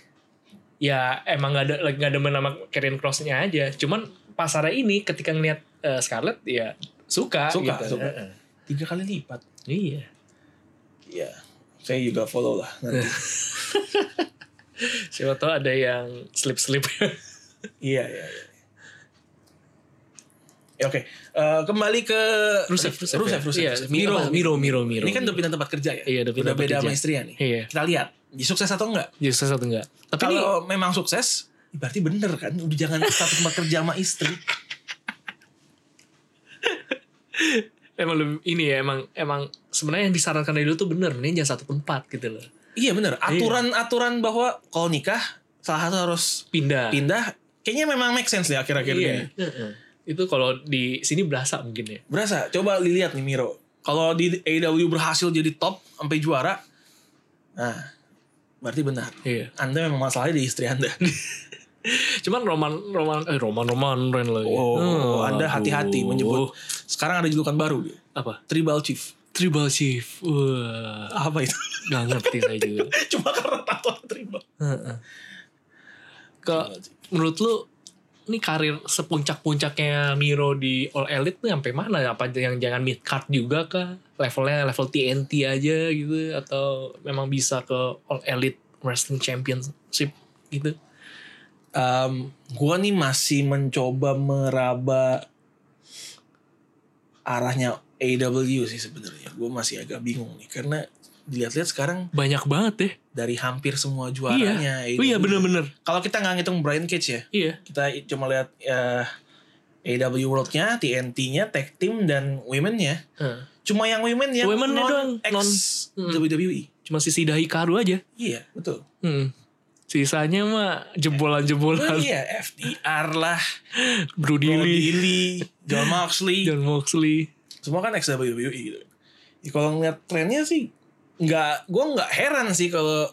ya emang nggak ada nggak demen sama Karen Cross-nya aja. Cuman pasarnya ini ketika ngelihat eh, Scarlett ya suka, Suka, gitu. suka. Heeh. Tiga kali lipat. Iya. Iya. Saya juga follow lah <laughs> nanti. Siapa tahu ada yang slip-slip. iya, iya, iya. Ya, Oke, Eh, kembali ke Rusev, Rusev, Rusev, ya. Rusev, Iya, Rusev. Miro, Apa? Miro, Miro, Miro. Ini kan udah pindah tempat kerja ya. Iya, udah pindah tempat beda kerja. sama istrinya nih. Iya. Kita lihat, dia sukses atau enggak? Ya, sukses atau enggak? Tapi ini Kalau memang sukses, berarti bener kan? Udah jangan satu tempat kerja sama istri. emang lebih- ini ya emang emang sebenarnya yang disarankan dari dulu tuh bener, mending jangan satu tempat gitu loh. Iya bener. Aturan-aturan bahwa kalau nikah salah satu harus Pindah. pindah. Kayaknya memang make sense deh akhir-akhir Iya. ini. Heeh. Itu kalau di sini berasa mungkin ya. Berasa. Coba lihat nih Miro. Kalau di AEW berhasil jadi top sampai juara, nah berarti benar. Iya. Anda memang masalahnya di istri Anda. Cuman Roman Roman eh Roman Roman Ren lagi. Oh, Hmm, Anda aduh. hati-hati menyebut. Sekarang ada julukan baru, dia. apa? Tribal Chief. Tribal Chief. Wah, Apa itu? <laughs> gak ngerti saya juga. Cuma karena tatoan tribal. Heeh. Ke menurut lu ini karir sepuncak-puncaknya Miro di All Elite tuh sampai mana? Apa yang jangan mid card juga kah? Levelnya level TNT aja gitu atau memang bisa ke All Elite Wrestling Championship gitu? um, gue nih masih mencoba meraba arahnya AW sih sebenarnya. Gue masih agak bingung nih karena dilihat-lihat sekarang Banyak banget ya. dari hampir semua Iya. juaranya. Oh iya AEW. bener-bener. Kalau kita nggak ngitung Brian Cage ya, Iya. kita cuma lihat eh AW World-nya, TNT-nya, Tag Team dan Women-nya. Heeh. Cuma yang Women yang Women-nya doang, ex non- Hmm. WWE. Cuma sisi dahi karu aja. Iya, betul. Hmm. Sisanya mah Oh, jebolan-jebolan. iya, FDR lah, Brody Brody Lee, Lee, John Moxley. <laughs> John Moxley. semua kan ex WWE gitu. Ya, kalau ngeliat trennya sih nggak, gue nggak heran sih kalau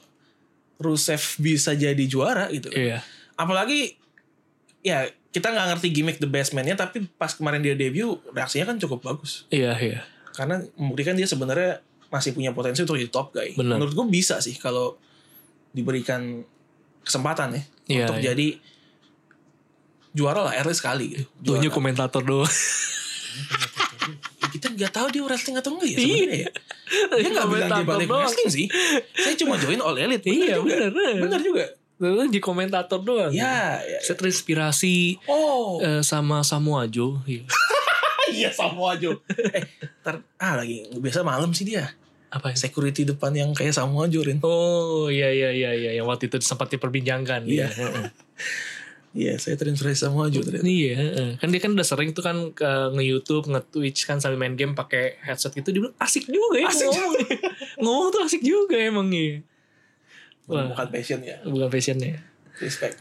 Rusev bisa jadi juara gitu. Iya. Apalagi ya kita nggak ngerti gimmick The Best Man-nya tapi pas kemarin dia debut reaksinya kan cukup bagus Iya, iya. karena membuktikan dia sebenarnya masih punya potensi untuk jadi top guy. Benar. Menurut gue bisa sih kalau diberikan kesempatan ya Iya, untuk iya. jadi juara lah at least sekali gitu. Tuhnya Juara. komentator doang. Ya, kita nggak tahu dia wrestling atau enggak ya sebenarnya ya. Dia nggak bilang dia Komentator balik Iya. doang. wrestling sih. Saya cuma join all elite. <laughs> Iya, Bener juga. bener, bener. Iya. Bener juga. Lalu di komentator doang. Ya, ya. Saya terinspirasi Oh, eh, sama Samoa Joe. <laughs> Iya. iya Samoa Joe. eh, ntar, ah lagi biasa malam sih dia. Apa ya? Security depan yang kayak Samoa Joe, Rin. Oh iya iya iya iya yang waktu itu sempat diperbincangkan. Iya. Heeh. Iya, saya terinspirasi Samoa Joe ternyata. Iya, heeh. kan dia kan udah sering tuh kan ke nge-YouTube, nge-Twitch kan sambil main game pakai headset gitu dia bilang asik juga ya Asik ngomong. <laughs> ngomong tuh asik juga emang iya. Wah, Bukan passion ya. bukan passionnya. Respect.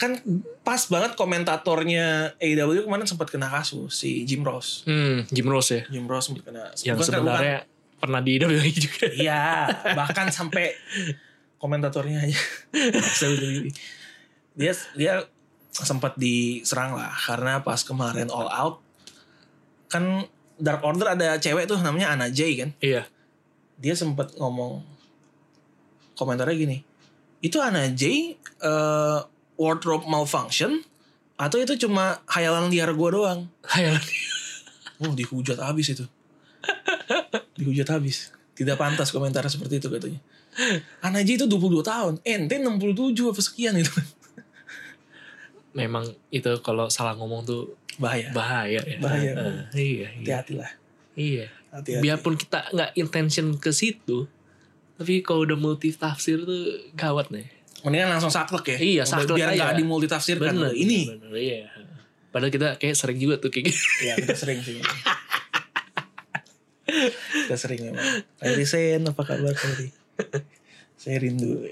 Kan pas banget komentatornya AEW kemarin sempat kena kasus si Jim Ross. Hmm, Jim Rose ya. Jim Ross sempat kena. Yang bukan- sebenarnya pernah di <laughs> WWE juga. Iya, bahkan sampai komentatornya aja. Maksa gitu gini. dia dia sempat diserang lah karena pas kemarin All Out kan Dark Order ada cewek tuh namanya Anna Jay kan. Iya. Dia sempat ngomong komentarnya gini. Itu Anna Jay eh, wardrobe malfunction atau itu cuma khayalan liar gua doang. Hayalan. Oh dihujat abis itu. dihujat habis. Tidak pantas komentar seperti itu katanya. Anaji itu 22 tahun, ente 67 apa sekian itu. Memang itu kalau salah ngomong tuh Bahaya. bahaya ya. Bahaya. Eh, iya, iya. Hati-hati lah. Iya. Hati-hati. Biarpun kita nggak intention ke situ, tapi kalau udah multi tafsir tuh gawat nih. Mendingan langsung saklek ya. Iya, saklek Biar aja. nggak dimultitafsirkan. Bener, Ini bener, iya. Padahal kita kayak sering juga tuh kayak gitu. Iya kita sering sih. <laughs> kita sering memang. Kairi Sen apa kabar Kairi? Saya rindu.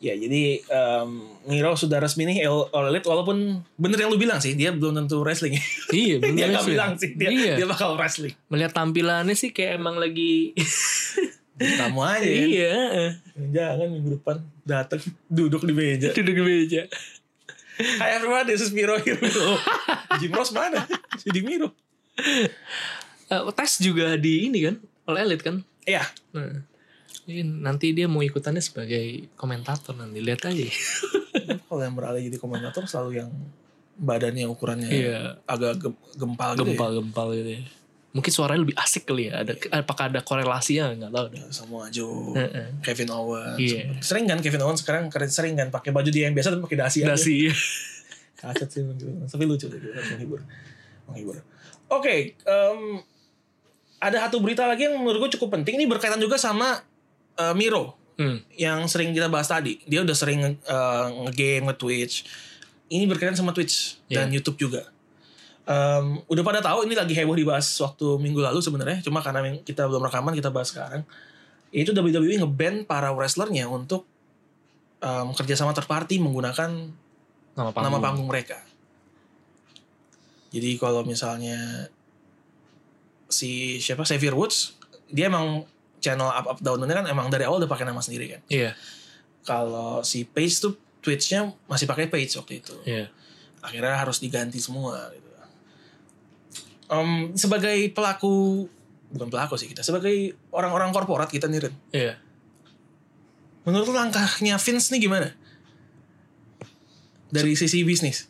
Ya jadi em Miro sudah resmi nih All All Elite walaupun bener yang lu bilang sih dia belum tentu wrestling. <laughs> iya, bener dia nggak sih. bilang sih dia Iya. dia bakal wrestling. Melihat tampilannya sih kayak emang <laughs> lagi <laughs> Kamu aja. ya. iya, eh. Jangan minggu depan datang duduk di <laughs> meja. duduk di meja. Hai everyone, this is Miro here. <laughs> Jim Ross mana? Jadi Miro. Eh, tes juga di ini kan, oleh elit kan. Iya. Nah, ini nanti dia mau ikutannya sebagai komentator nanti lihat aja. Iya. Kalau yang beralih jadi komentator selalu yang badannya ukurannya Iya. agak gem- gempal gitu ya. Gempal-gempal gitu ya. Mungkin suaranya lebih asik kali ya. Ada apakah ada korelasinya nggak tahu deh. semua Joe, Heeh. Kevin Owens. Iya. Sering kan Kevin Owens sekarang keren sering kan pakai baju dia yang biasa tapi pakai dasi aja. Dasi. Kacet sih emang gitu. Tapi lucu gitu, menghibur. Menghibur. Oke, em, ada satu berita lagi yang menurut gue cukup penting. Ini berkaitan juga sama eh, Miro Hmm. yang sering kita bahas tadi. Dia udah sering eh, nge-game, nge-twitch. Ini berkaitan sama Twitch dan YouTube juga. Em, udah pada tahu ini lagi heboh dibahas waktu minggu lalu sebenarnya. Cuma karena yang kita belum rekaman kita bahas sekarang. Itu WWE E nge-ban para wrestlernya untuk em, kerjasama third party menggunakan nama Nama panggung. panggung mereka. Jadi kalau misalnya si siapa Xavier Woods, dia emang channel up up down down kan emang dari awal udah pakai nama sendiri kan. Iya, Kalau si Page tuh Twitch-nya masih pakai Page waktu itu. iya. Akhirnya harus diganti semua gitu. Em, sebagai pelaku bukan pelaku sih kita sebagai orang-orang korporat kita nih Ren. Iya. Menurut lu langkahnya Vince nih gimana? Dari sisi bisnis.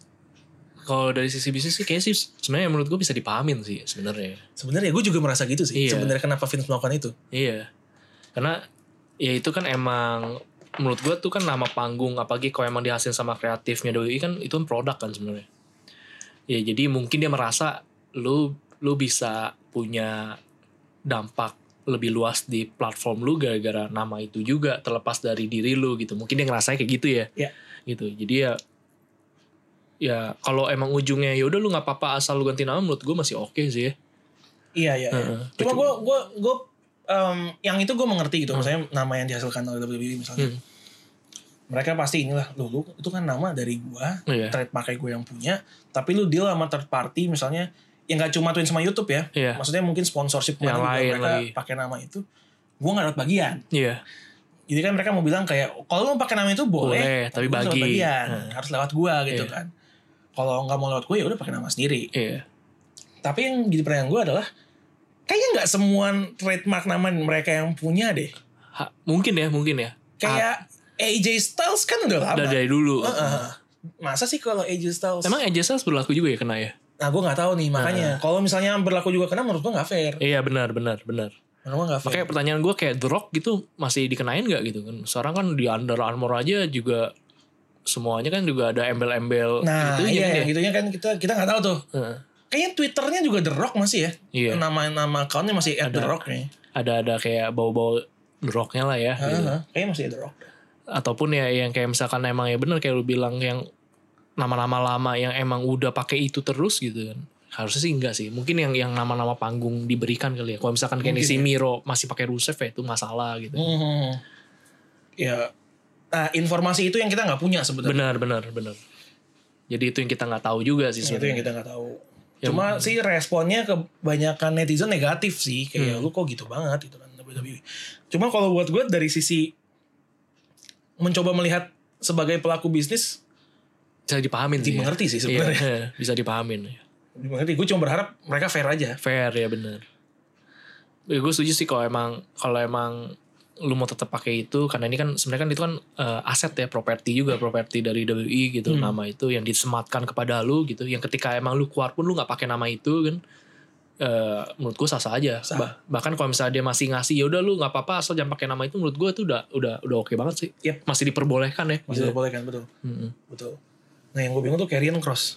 Kalau dari sisi bisnis sih kayaknya sih sebenarnya menurut gue bisa dipahamin sih sebenarnya. Sebenarnya gue juga merasa gitu sih. Iya. Sebenarnya kenapa Vince melakukan itu? Iya. Karena ya itu kan emang menurut gue tuh kan nama panggung apalagi kalau emang dihasilin sama kreatifnya doi kan itu kan produk kan sebenarnya. Ya jadi mungkin dia merasa lu lu bisa punya dampak lebih luas di platform lu gara-gara nama itu juga terlepas dari diri lu gitu. Mungkin dia ngerasa kayak gitu ya. Iya. Gitu. Jadi ya ya kalau emang ujungnya yaudah lu nggak apa-apa asal lu ganti nama menurut gue masih oke sih ya. Iya iya. iya. Heeh. Cuma Kecu- gue gue gue yang itu gue mengerti gitu. Misalnya nama yang dihasilkan oleh WWE misalnya. Hmm. Mereka pasti inilah lu, lu itu kan nama dari gua, Iya. trademark trademarknya gue yang punya, tapi lu deal sama third party misalnya yang gak cuma twin sama YouTube ya. Iya. Maksudnya mungkin sponsorship kemarin Yang juga lain mereka lagi. pakai nama itu. Gue gak dapat bagian. Iya. Jadi kan mereka mau bilang kayak kalau lu mau pakai nama itu boleh, Boleh, tapi lu harus dapat bagi. bagian, Heeh. harus lewat gua gitu Iya. kan. Kalau nggak mau lewat gue ya udah pakai nama sendiri. Iya. Tapi yang jadi pertanyaan gue adalah kayaknya nggak semua trademark nama mereka yang punya deh. Ha- mungkin ya, mungkin ya. Kayak AJ Styles kan udah lama. Udah dari dulu. Heeh. Masa sih kalau AJ Styles? Emang adjusters berlaku juga ya kena ya? Nah gue nggak tahu nih makanya. Kalau misalnya berlaku juga kena menurut gue nggak fair. Iya benar benar benar. Menurut gue nggak fair. Makanya pertanyaan gue kayak The Rock gitu masih dikenain nggak gitu kan? Sekarang kan di Under Armour aja juga semuanya kan juga ada embel-embel nah gitu iya yang kan ya. gitunya kan kita kita nggak tahu tuh. Heeh. Kayaknya Twitternya juga The Rock masih ya. Iya. Nama-nama accountnya masih at The Rock nih. Ada ada kayak bau-bau The Rocknya lah ya. gitu. Heeh. Kayaknya masih at The Rock. Ataupun ya yang kayak misalkan emang ya benar kayak lu bilang yang nama-nama lama yang emang udah pakai itu terus gitu kan. Harusnya sih enggak sih. Mungkin yang yang nama-nama panggung diberikan kali ya. Kalau misalkan kayak Mungkin si ya. Miro masih pakai Rusev ya itu masalah gitu. Mhm. Ya. Nah, informasi itu yang kita nggak punya sebenarnya. Benar, benar, benar. Jadi itu yang kita nggak tahu juga sih Nah, itu yang sebenarnya. kita nggak tahu. iya. Cuma sih responnya kebanyakan netizen negatif sih kayak Hmm. lu kok gitu banget gitu kan WWE. Cuma kalau buat gue dari sisi mencoba melihat sebagai pelaku bisnis Bisa dipahamin sih. ya. dimengerti sih Iya, sebenarnya. iya, <laughs> bisa dipahamin. ya. Dimengerti. Gue cuma berharap mereka fair aja. Fair ya benar. Ya, gue setuju sih kalau emang kalau emang lu mau tetap pakai itu karena ini kan sebenarnya kan itu kan eh, aset ya properti juga properti dari WI gitu Hmm. nama itu yang disematkan kepada lu gitu yang ketika emang lu keluar pun lu nggak pakai nama itu kan eh, menurut gue sah sah aja. Sah. Bah- bahkan kalau misalnya dia masih ngasih ya udah lu nggak apa apa asal jangan pakai nama itu menurut gue itu udah udah udah oke banget sih. Yep. Masih diperbolehkan ya. Masih gitu. boleh kan betul. Mm-mm. Betul. Nah yang gue bingung tuh Karrion Cross.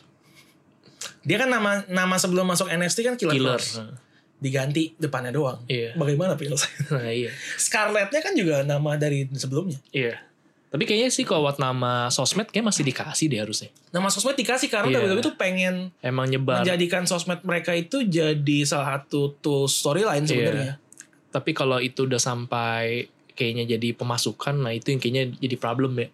Dia kan nama nama sebelum masuk NXT kan Killer, Killer. Cross. Nah, Diganti depannya doang. Iya. <laughs> Bagaimana <laughs> penyelesaian? Nah, iya. Scarletnya kan juga nama dari sebelumnya. Iya. Tapi kayaknya sih kalau buat nama sosmed kayak masih dikasih deh harusnya. Nama sosmed dikasih karena Iya. WWE tuh pengen Emang nyebar. menjadikan sosmed mereka itu jadi salah satu tools Iya. storyline sebenarnya. Tapi kalau itu udah sampai kayaknya jadi pemasukan, nah itu yang kayaknya jadi problem ya.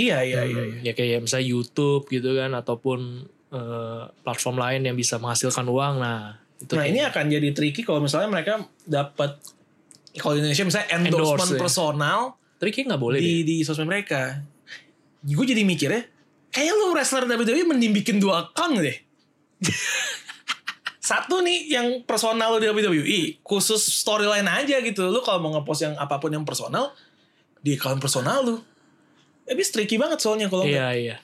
Iya iya iya. Hmm, Ya kayak misalnya YouTube gitu kan ataupun eh, platform lain yang bisa menghasilkan uang. Nah, itu Nah ini kayaknya. akan jadi tricky kalau misalnya mereka dapat kalau di Indonesia misalnya endorsement Endorse, ya. personal tapi kayak nggak boleh deh. di di sosmed mereka. Gue jadi mikir ya, kayak lu wrestler WWE mending bikin dua account <laughs> deh. Satu nih yang personal di WWE, khusus storyline aja gitu. Lu kalau mau ngepost yang apapun yang personal, di account personal lu. Habis tricky banget soalnya kalau nggak. Iya, iya.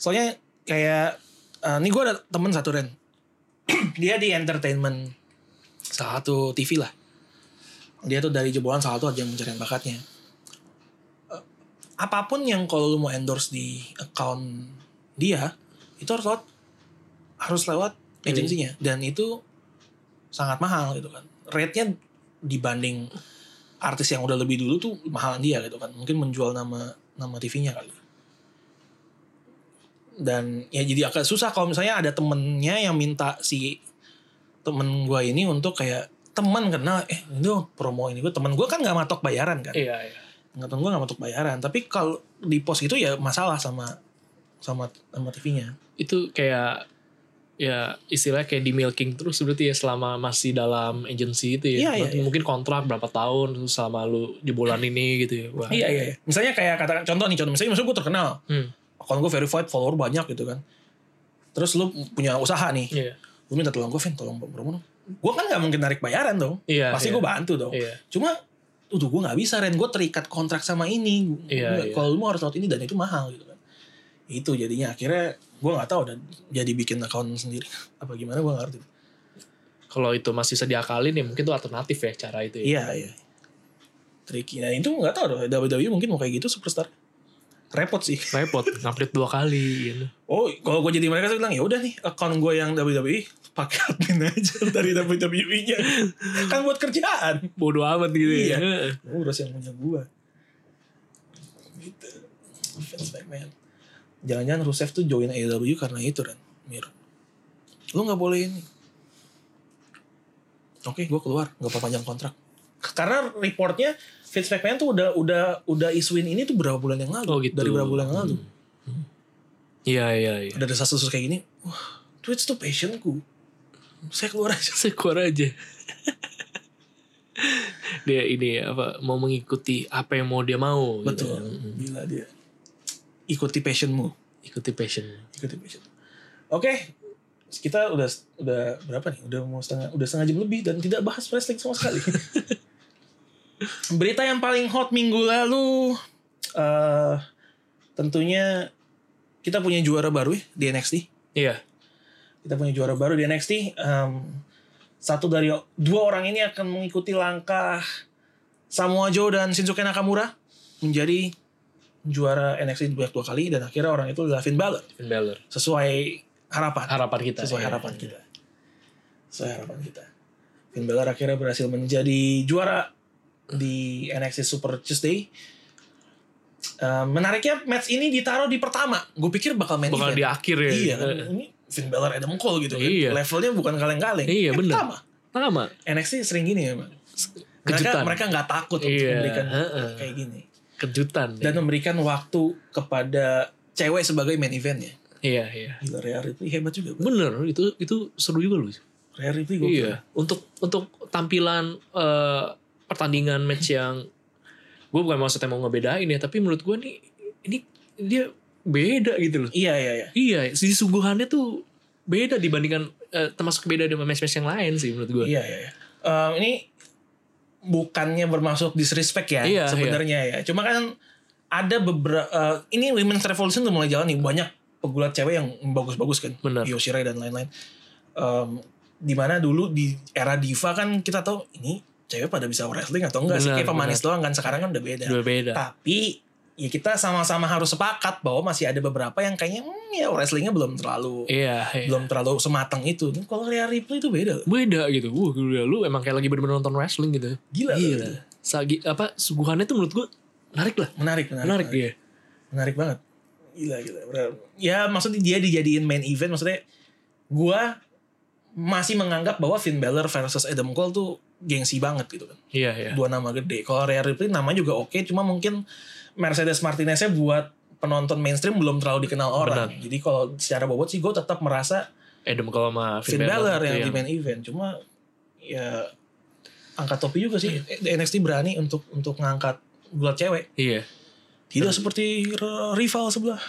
Soalnya kayak eh, nih gue ada temen satu Ren. <clears throat> dia di entertainment salah satu TV lah. Dia tuh dari jebolan salah satu aja yang pencarian bakatnya. Eh, apapun yang kalau lu mau endorse di account dia itu harus lewat harus lewat agensinya dan itu sangat mahal gitu kan. Rate-nya dibanding artis yang udah lebih dulu tuh mahalan dia gitu kan. Mungkin menjual nama nama TV-nya kali dan ya jadi agak susah kalau misalnya ada temennya yang minta si temen gue ini untuk kayak teman kenal eh ini dong promo ini gue temen gue kan nggak matok bayaran kan Iya, iya. nggak temen gue nggak matok bayaran tapi kalau di pos itu ya masalah sama sama sama TV-nya Itu kayak ya istilahnya kayak di milking terus berarti ya selama masih dalam agency Iya, itu ya. iya, Berarti iya. Mungkin kontrak berapa tahun terus selama lu jebolan ini gitu ya. Wah. iya iya misalnya kayak katakan contoh nih contoh misalnya misalnya gue terkenal Hmm, kalau gue verified follower banyak gitu kan terus lu punya usaha nih iya. lu minta tolong gue Vin tolong promo dong gue kan nggak mungkin narik bayaran dong Iya. pasti iya. gue bantu dong Iya. cuma Udah gue nggak bisa Ren gue terikat kontrak sama ini Iya, Gua- iya. kalau lu mau harus lewat ini dan itu mahal gitu kan itu jadinya akhirnya gue nggak tahu dan jadi bikin account sendiri <laughs> apa gimana gue ngerti Kalau itu masih bisa diakalin ya mungkin itu alternatif ya cara itu ya. iya iya tricky nah itu nggak tahu dong WWE mungkin mau kayak gitu superstar repot sih Repot, ngupdate dua kali gitu. oh kalau gue jadi mereka saya bilang ya udah nih account gue yang WWE pakai admin <laughs> aja dari WWE nya kan buat kerjaan Bodoh amat gitu Iya. ya. Heeh. urus yang punya gua gitu Vince McMahon jangan-jangan Rusev tuh join AEW karena itu kan Mir lu nggak boleh ini oke gua keluar nggak perpanjang kontrak karena reportnya Vince McMahon tuh udah udah udah isuin ini tuh berapa bulan yang lalu Oh, gitu. dari berapa bulan yang lalu Iya, iya, iya. <laughs> udah ada kasus kayak gini wah Twitch tuh passionku saya keluar aja Sekuar aja. dia ini apa mau mengikuti apa yang mau dia mau. gitu betul kan. gila dia ikuti passionmu Ikuti passion. ikuti passion. Oke, kita udah udah berapa nih? Udah mau setengah udah setengah jam lebih dan tidak bahas wrestling sama sekali. Berita yang paling hot minggu lalu eh tentunya kita punya juara baru ya di NXT. Iya. Kita punya juara baru di NXT. Em, satu dari dua orang ini akan mengikuti langkah Samoa Joe dan Shinsuke Nakamura menjadi juara NXT banyak dua kali dan akhirnya orang itu adalah Finn Balor Finn Balor. sesuai harapan Harapan kita. sesuai Iya. harapan kita sesuai harapan kita Finn Balor akhirnya berhasil menjadi juara di NXT Super Tuesday Eh, menariknya match ini ditaruh di pertama gue pikir bakal main Bakal di event akhir ya. iya kan? Heeh. ini Finn Balor Adam Cole gitu kan Iya. levelnya bukan kaleng-kaleng Iya, Yang bener. pertama Lama. NXT sering gini ya Bang. mereka Kejutan. mereka nggak takut untuk Iya, memberikan heeh. kayak gini Kejutan. dan memberikan waktu kepada cewek sebagai main eventnya iya, iya. gila Rhea Ripley hebat juga Bang. Bener itu itu seru juga loh. Rhea Ripley gue Iya. Untuk untuk tampilan eh, pertandingan match yang gue bukan maksudnya mau ngebedain ya, tapi menurut gue nih ini dia beda gitu loh. Iya iya iya. Iya, sisi suguhannya tuh beda dibandingkan eh, termasuk beda dengan match-match yang lain sih menurut gue. Iya iya. iya. Em, ini bukannya bermaksud disrespect ya Iya, sebenarnya ya. Cuma kan ada beberapa ini women's revolution udah mulai jalan nih banyak pegulat cewek yang bagus-bagus kan. Benar. Yoshirai dan lain-lain. Em, dimana dulu Ehm, di era diva kan kita tahu ini cewek pada bisa wrestling atau enggak sih Benar, kayak pemanis doang kan sekarang kan udah beda Dua beda. tapi ya kita sama-sama harus sepakat bahwa masih ada beberapa yang kayaknya hmm, ya wrestlingnya belum terlalu Iya, iya. belum terlalu sematang itu kalau Rhea Ripley itu beda beda gitu. Wah, gila lu emang kayak lagi bener-bener nonton wrestling gitu. Gila, Gila. bener. Sagi apa suguhannya tuh menurut gua menarik lah. menarik menarik Menarik iya. dia. menarik banget gila gila Bener. ya maksudnya dia dijadiin main event maksudnya gua masih menganggap bahwa Finn Balor versus Adam Cole tuh gengsi banget gitu kan Iya, iya. dua nama gede kalau Rhea Ripley namanya juga oke cuma mungkin Mercedes Martineznya buat penonton mainstream belum terlalu dikenal orang jadi kalau secara bobot sih gue tetap merasa Adam Cole sama Finn, Finn Balor yang di Iya. main event cuma ya angkat topi juga sih Eh, NXT berani untuk untuk ngangkat gulat cewek Iya. tidak seperti r- rival <laughs> sebelah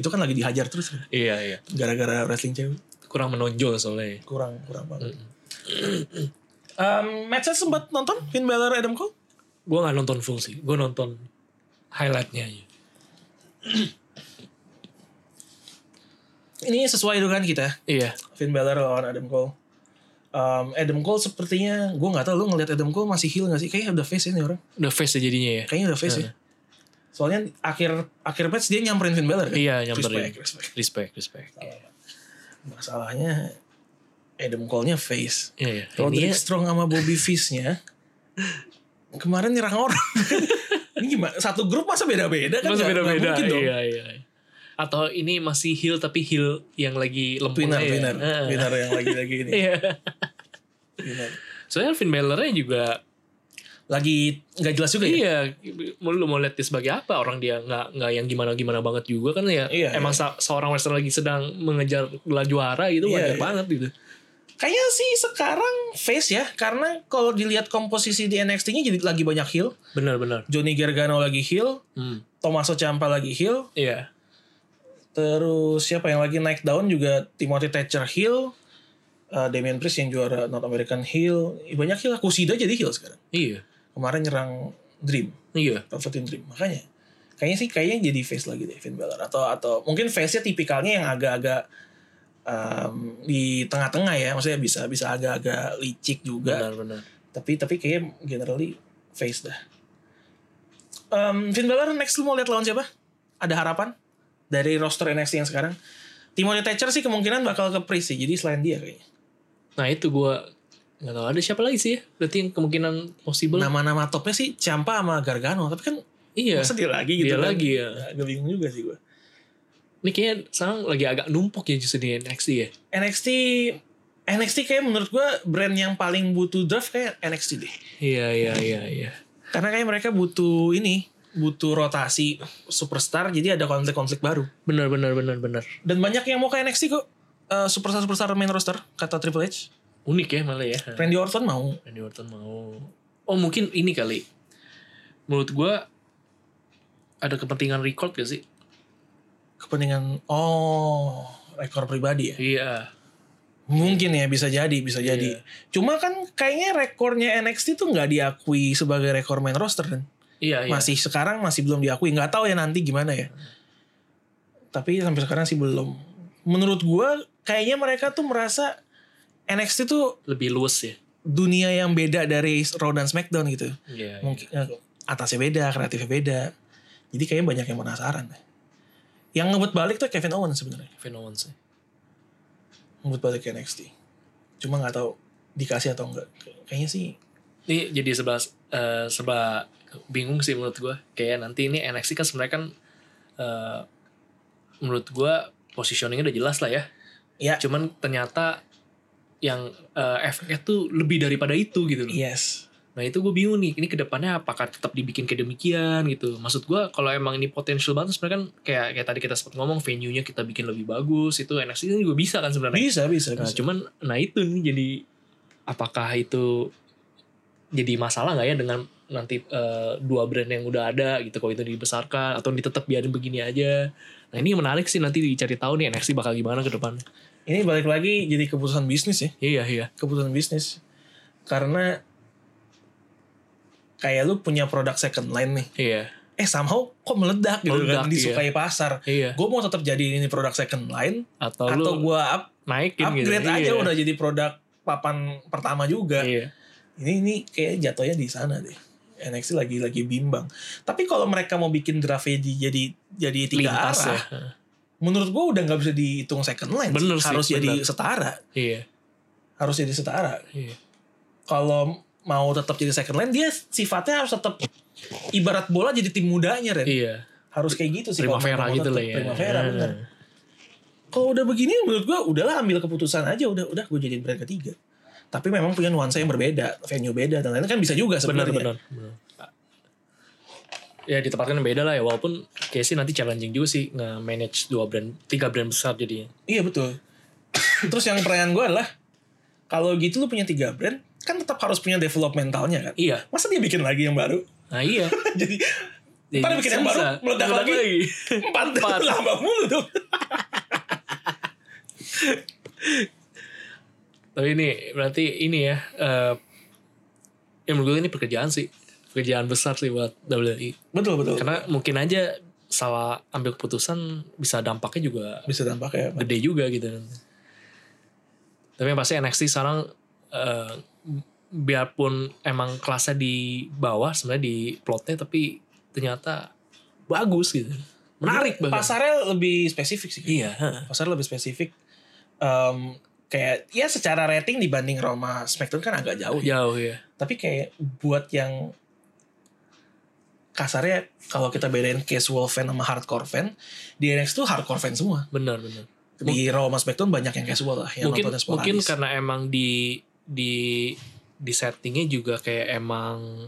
itu kan lagi dihajar terus Iya, iya. gara-gara wrestling cewek Kurang menonjol soalnya. kurang kurang banget Hmm. um, matchnya sempat nonton Finn Balor Adam Cole Gua nggak nonton full sih. Gua nonton highlightnya aja. ini sesuai dengan kita Iya. Finn Balor lawan Adam Cole Um, Adam Cole sepertinya gue nggak tahu lu ngelihat Adam Cole masih heel nggak sih kayaknya udah face ini orang Udah face deh jadinya ya. kayaknya udah face ya soalnya akhir akhir match dia nyamperin Finn Balor kan Iya, nyamperin. respect, respect. Respect, respect. masalahnya Adam Cole-nya face Iya, iya. Roderick Ini Strong sama Bobby Fish-nya kemarin nyerang <laughs> orang. ini gimana? Satu grup masa beda-beda kan? masih Nggak- nggak beda-beda. mungkin dong. Iya, iya. Atau ini masih heel tapi heel yang lagi lempeng Winner, aja. winner, Ah. winner yang lagi-lagi ini. Iya. Winner. Soalnya Finn Balor-nya juga Lagi nggak jelas juga ya? Iya, mau lu mau lihat dia sebagai apa orang dia nggak nggak yang gimana gimana banget juga kan ya. Iya, emang sa- seorang wrestler lagi sedang mengejar gelar juara gitu Iya, wajar iya. banget gitu. Kayaknya sih sekarang face ya, karena kalau dilihat komposisi di NXT-nya jadi lagi banyak heel. Benar-benar. Johnny Gargano lagi heel, Hmm. Tommaso Ciampa lagi heel, Iya. terus siapa yang lagi naik daun juga Timothy Thatcher heel, eh, Damian Priest yang juara North American heel, banyak heel lah. Kushida jadi heel sekarang. Iya. kemarin nyerang Dream, Iya. Velveteen Dream. Makanya kayaknya sih kayaknya jadi face lagi deh Finn Balor atau atau mungkin face-nya tipikalnya yang agak-agak um, di tengah-tengah ya, maksudnya bisa bisa agak-agak licik juga. Benar-benar. Tapi tapi kayaknya generally face dah. Um, Finn Balor next lu mau lihat lawan siapa? Ada harapan dari roster NXT yang sekarang? Timothy Thatcher sih kemungkinan bakal ke Priest sih, jadi selain dia kayaknya. Nah itu gua nggak tahu ada siapa lagi sih ya. Berarti yang kemungkinan possible. Nama-nama topnya sih Ciampa sama Gargano, tapi kan iya. masa dia lagi gitu Dia kan? lagi ya. Agak bingung juga sih gue. Ini kayaknya sekarang lagi agak numpuk ya justru di NXT ya. NXT NXT kayak menurut gue brand yang paling butuh draft kayak NXT deh. Iya iya iya iya. Karena kayak mereka butuh ini, butuh rotasi superstar jadi ada konflik-konflik baru. Benar benar benar benar. Dan banyak yang mau ke NXT kok. Eh, superstar-superstar main roster kata Triple H. Unik ya malah ya. Randy Orton mau. Randy Orton mau oh mungkin ini kali menurut gua ada kepentingan record gak sih Kepentingan oh, rekor pribadi ya. iya Mungkin ya bisa jadi, bisa jadi. Cuma kan kayaknya rekornya NXT tuh nggak diakui sebagai rekor main roster kan. iya iya masih sekarang masih belum diakui nggak tahu ya nanti gimana ya tapi sampai sekarang sih belum menurut gua kayaknya mereka tuh merasa NXT tuh lebih luas ya dunia yang beda dari Raw dan SmackDown gitu iya iya. mungkin eh, atasnya beda kreatifnya beda jadi kayaknya banyak yang penasaran yang ngebut balik tuh Kevin Owens sebenarnya Kevin Owens ya. ngebut balik ke NXT cuma nggak tahu dikasih atau enggak kayaknya sih ini jadi serba eh, serba bingung sih menurut gua kayak nanti ini NXT kan sebenarnya kan eh, menurut gua positioningnya udah jelas lah ya ya cuman ternyata yang eh, FF tuh lebih daripada itu gitu loh yes Nah itu gue bingung nih, ini kedepannya apakah tetap dibikin kayak demikian gitu. Maksud gue kalau emang ini potensial banget sebenarnya kan kayak kayak tadi kita sempat ngomong venue-nya kita bikin lebih bagus itu NXT ini juga bisa kan sebenarnya. bisa bisa, Nah bisa. cuman nah itu nih jadi apakah itu jadi masalah nggak ya dengan nanti eh, dua brand yang udah ada gitu kalau itu dibesarkan atau ditetap biarin begini aja. Nah ini yang menarik sih nanti dicari tahu nih NXT bakal gimana ke depan. ini balik lagi jadi keputusan bisnis ya Iya iya. keputusan bisnis karena kayak lu punya produk second line nih Iya. eh somehow kok meledak gitu Meledak, kan disukai pasar Iya. gue mau tetap jadi ini produk second line Atau, atau lu gue up naikin gitu. upgrade aja Iya. udah jadi produk papan pertama juga Iya. ini ini kayak jatuhnya di sana deh NXT lagi lagi bimbang tapi kalau mereka mau bikin draft jadi jadi tiga Lintas arah ya. menurut gua udah nggak bisa dihitung second line sih. Bener sih, harus jadi bener. setara Iya. harus jadi setara Iya. kalau mau tetap jadi second line dia sifatnya harus tetap ibarat bola jadi tim mudanya Ren Iya. harus kayak gitu sih kalau Primavera mau gitu tetap lah ya. primavera Nah. bener kalau udah begini menurut gua udahlah ambil keputusan aja udah udah gue jadiin brand ketiga tapi memang punya nuansa yang berbeda venue beda dan lain-lain kan bisa juga benar sebenarnya benar ya ditempatkan yang beda lah ya walaupun Casey nanti challenging juga sih nge-manage dua brand tiga brand besar jadinya iya betul terus yang pertanyaan gua adalah kalau gitu lu punya tiga brand kan tetap harus punya developmentalnya kan iya masa dia bikin lagi yang baru <laughs> nah iya jadi Ntar bikin yang baru, susah. meledak lagi. empat, Empat. <laughs> lama mulu tuh <laughs> tapi ini berarti ini ya eh ya menurut gue ini pekerjaan sih pekerjaan besar sih buat WWE betul betul karena mungkin aja salah ambil keputusan bisa dampaknya juga bisa ya. tampaknya gede juga gitu kan. Tapi yang pasti NXT sekarang eh, biarpun emang kelasnya di bawah sebenarnya di plotnya tapi ternyata bagus gitu. Menarik banget. pasarnya lebih spesifik sih Iya, heeh. pasar lebih spesifik Em, kayak ya secara rating dibanding Roma Smackdown kan agak jauh ya jauh ya. tapi kayak buat yang kasarnya kalau kita bedain casual fan sama hardcore fan di NXT tuh hardcore fan semua Benar, benar. di Raw sama Smackdown banyak yang casual lah yang mungkin nontonnya mungkin sporadis. karena emang di di di settingnya juga kayak emang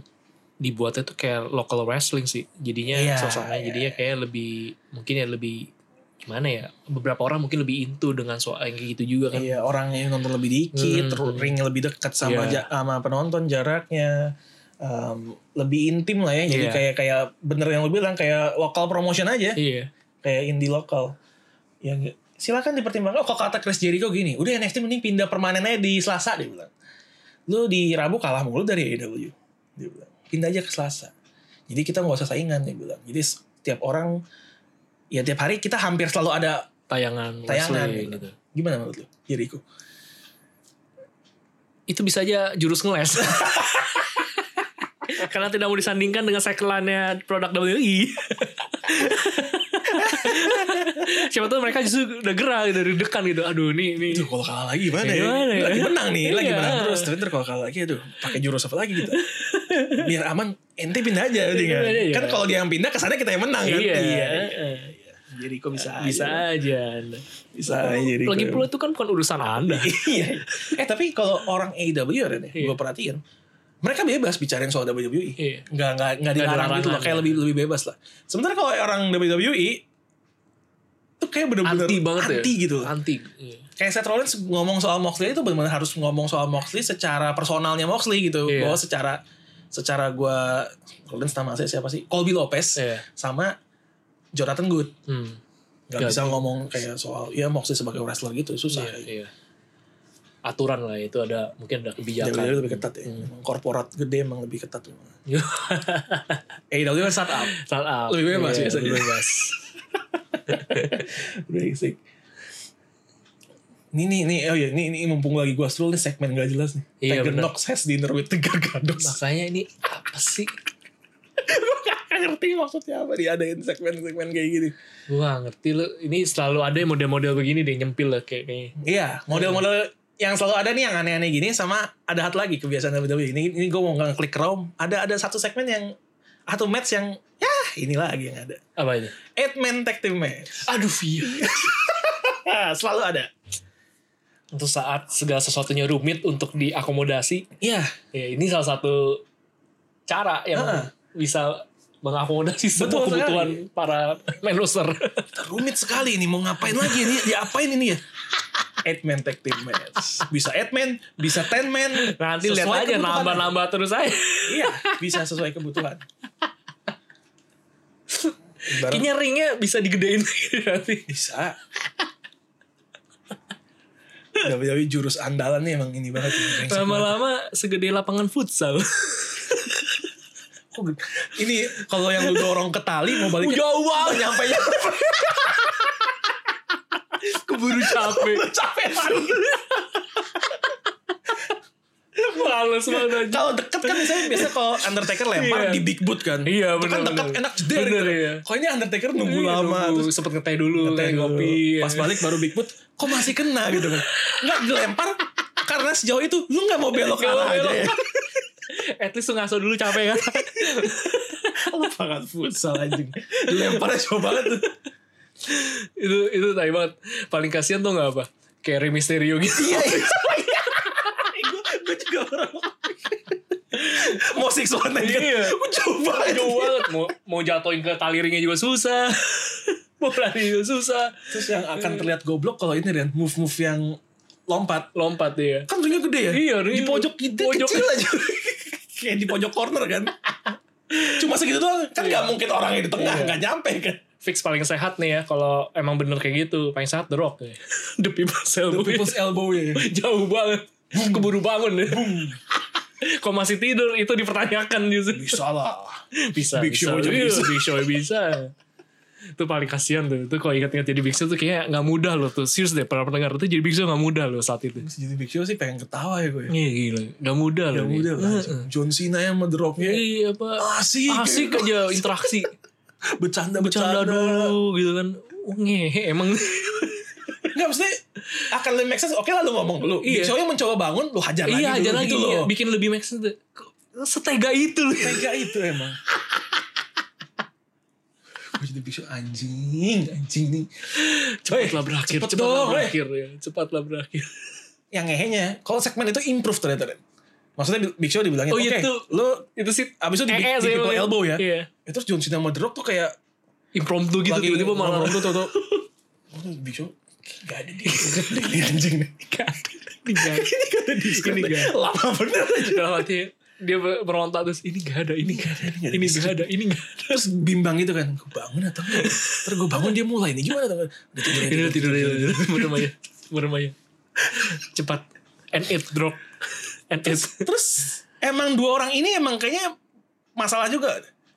dibuatnya tuh kayak local wrestling sih jadinya Iya, suasana iya, jadinya kayak lebih mungkin ya lebih gimana ya beberapa orang mungkin lebih into dengan soal yang kayak gitu juga kan Iya orang yang nonton lebih dikit, Hmm. terus ringnya lebih dekat sama ja- Iya. sama penonton jaraknya, em, lebih intim lah ya. Jadi Iya. kayak kayak bener yang lu bilang kayak lokal promotion aja, iya kayak indie lokal. Ya nggak- silakan dipertimbangkan. Oh, kok kata Chris Jericho gini, udah NXT mending pindah permanennya di Selasa dia bilang. Lu di Rabu kalah mulu dari AEW. Dia bilang, pindah aja ke Selasa. Jadi kita nggak usah saingan dia bilang. Jadi setiap orang ya tiap hari kita hampir selalu ada tayangan Tayangan, wrestling gitu. gitu. gimana menurut lu Jericho? Itu bisa aja jurus <laughs> ngeles. Karena tidak mau disandingkan dengan sekelannya produk WWE. Siapa tahu mereka justru udah gerah dari dekan gitu. Aduh ini ini. Aduh kalau kalah lagi gimana ya? Gimana ya? Lagi menang nih, lagi Iya. menang terus. Tapi ntar kalau kalah lagi aduh, pakai jurus apa lagi kita? Biar aman, ente pindah aja. Udi, kan? Iya. Kan kalau dia yang pindah, kesannya kita yang menang kan? Iya. Jadi kok bisa Bisa aja. aja. Anda. Bisa aja. Jadi Lagi kok. pula itu kan bukan urusan Anda. <laughs> Iya. Eh tapi kalau orang AEW ya, Ren, ya, gitu. Iya. gue perhatiin. Mereka bebas bicarain soal WWE. Iya. Nggak, nggak, nggak ada dilarang gitu loh. larangan, Kayak ya. lebih, lebih bebas lah. Sementara kalau orang WWE, itu kayak bener-bener Anti banget ya. anti gitu. Anti. Iya. kayak Seth Rollins ngomong soal Moxley itu benar-benar harus ngomong soal Moxley secara personalnya Moxley gitu Iya. bahwa secara secara gue Rollins nama saya siapa sih Colby Lopez Iya. sama Jonathan Good Hmm. nggak Nggak bisa ngomong kayak soal ya Moxley sebagai wrestler gitu susah Iya, iya. Aturan lah itu ada mungkin ada ya, kebijakan. <laughs> lebih ketat ya Emang korporat gede emang lebih ketat ya. memang. Iya. AEW kan startup Startup. Lebih bebas ya, Iya, biasanya. Lebih bebas. basic ini nih nih oh ya ini, ini mumpung lagi gue scroll nih segmen gak jelas nih Iya, Tiger bener. Knox has dinner with the <laughs> Gargados Makanya ini apa sih? Gak ngerti maksudnya apa diadain segmen-segmen kayak gini. Gua gak ngerti lu. Ini selalu ada yang model-model begini deh nyempil lah kayak kayaknya. Iya, model-model yang selalu ada nih yang aneh-aneh gini sama ada hat lagi kebiasaan WWE. Ini ini gue mau ngeklik Chrome, ada ada satu segmen yang atau match yang ya ini lagi yang ada. Apa itu? Eight man tag team match. Aduh Via. Ah, selalu ada. Untuk saat segala sesuatunya rumit untuk diakomodasi, Iya, ya ini salah satu cara yang Heeh. bisa mengakomodasi semua Betul kebutuhan sekali. para main roster. rumit sekali ini mau ngapain lagi ini diapain ini ya? Eight man tag team match. Bisa eight man, bisa ten man. Nanti lihat Sesuai aja kebutuhan. nambah-nambah terus aja. Iya, bisa sesuai kebutuhan. Ibarat- Kayaknya ringnya bisa digedein lagi nanti. Bisa. WWE jurus andalan nih emang ini banget. nih, brengsek banget. Lama-lama segede lapangan futsal. Kok gede? Ini kalau yang lu ya. ya. dorong ke tali mau balik ke Jauh banget. nyampe ya. udah capek. Capek banget. Males banget aja. Kalau deket kan misalnya biasa kalau Undertaker lempar Iya. di big boot kan. Iya, Itu kan bener, dekat bener. enak jeder Bener, gitu. iya. Kalau ini Undertaker nunggu Iya, lama nunggu. iya. terus sempet ngeteh dulu, ya. ngeteh kayak ngopi. dulu. Pas balik baru big boot, kok masih kena gitu kan. Enggak dilempar karena sejauh itu lu nggak mau <laughs> belok Nggak mau arah aja belok. ya. At least lu ngaso dulu capek kan. <laughs> Lu banget futsal anjing. Dilemparnya jauh banget tuh. itu itu tai banget. Paling kasihan tuh nggak apa? Kayak Rey Mysterio gitu. Iya, iya. Iya. Gue juga orang. Mau siksuan aja. Iya. Gue jauh banget. <laughs> Jauh banget. Mau, mau jatuhin ke tali ringnya juga susah. <laughs> mau lari juga susah. Terus yang akan terlihat goblok kalau ini dan move-move yang lompat. Lompat dia. Kan ringnya gede ya? Iya, Di ringnya pojok gede pojok. kecil aja. <laughs> Kayak di pojok corner <laughs> kan. Cuma segitu doang. Kan nggak mungkin orangnya di tengah. Iya. nggak nyampe <laughs> kan. Fix paling sehat nih ya. Kalau emang bener kayak gitu. Paling sehat The Rock. Ya. <laughs> The People's Elbow. elbow ya. <laughs> Jauh banget. Keburu bangun ya. <laughs> Kok masih tidur? Itu dipertanyakan justru. Bisa lah. bisa Big bisa. Show aja Iya, bisa. Big Show bisa itu paling kasihan tuh itu kalau ingat-ingat jadi Big Show tuh kayak nggak mudah loh tuh serius deh para pendengar tuh jadi Big Show nggak mudah loh saat itu Jadi Big Show sih pengen ketawa ya gue. iya gila nggak mudah Ya loh nih. udah lah. John Cena yang ya. ngedropnya. iya apa Asik. asik aja interaksi Bercanda-bercanda. bercanda dulu gitu kan Oh, ngehe emang Enggak maksudnya akan lebih make sense. Oke lah lu ngomong dulu. Big Iya. Show yang mencoba bangun lu hajar lagi iya dulu aja lagi gitu iya. loh. bikin lebih make sense tuh. Kok setega itu loh Tega itu <laughs> emang. gue jadi biksu anjing, anjing nih. cepatlah berakhir cepet cepatlah dong, weh. berakhir ya cepatlah berakhir Yang ngehenya, kalau segmen itu improve ternyata. Ren. Maksudnya Big Show dibilangin, Oh, oke, iya tuh. lu itu sih abis itu di, eh, eh, di sih, people emang. elbow ya. iya Ya, terus John Cena sama The Rock tuh kayak impromptu gitu lagi tiba-tiba malah <laughs> ngomong tuh tuh tuh. "Oh, Big Show gak ada dia. Ini anjing nih. Gak ada. Gak ada. Ini gak ada. Lama bener aja. Dalam hati dia ber- meronta terus ini gak ada, ini gak ada, ini gak ada. ini gak ada, ini gak ada. Terus bimbang gitu kan, gue bangun atau enggak? Terus gue bangun dia mulai nih gimana tuh? Udah tidur, Ini udah tidur iya. aja, <laughs> udah tidur. merem aja, merem aja. Cepat. And it drop. And it. Terus emang dua orang ini emang kayaknya masalah juga.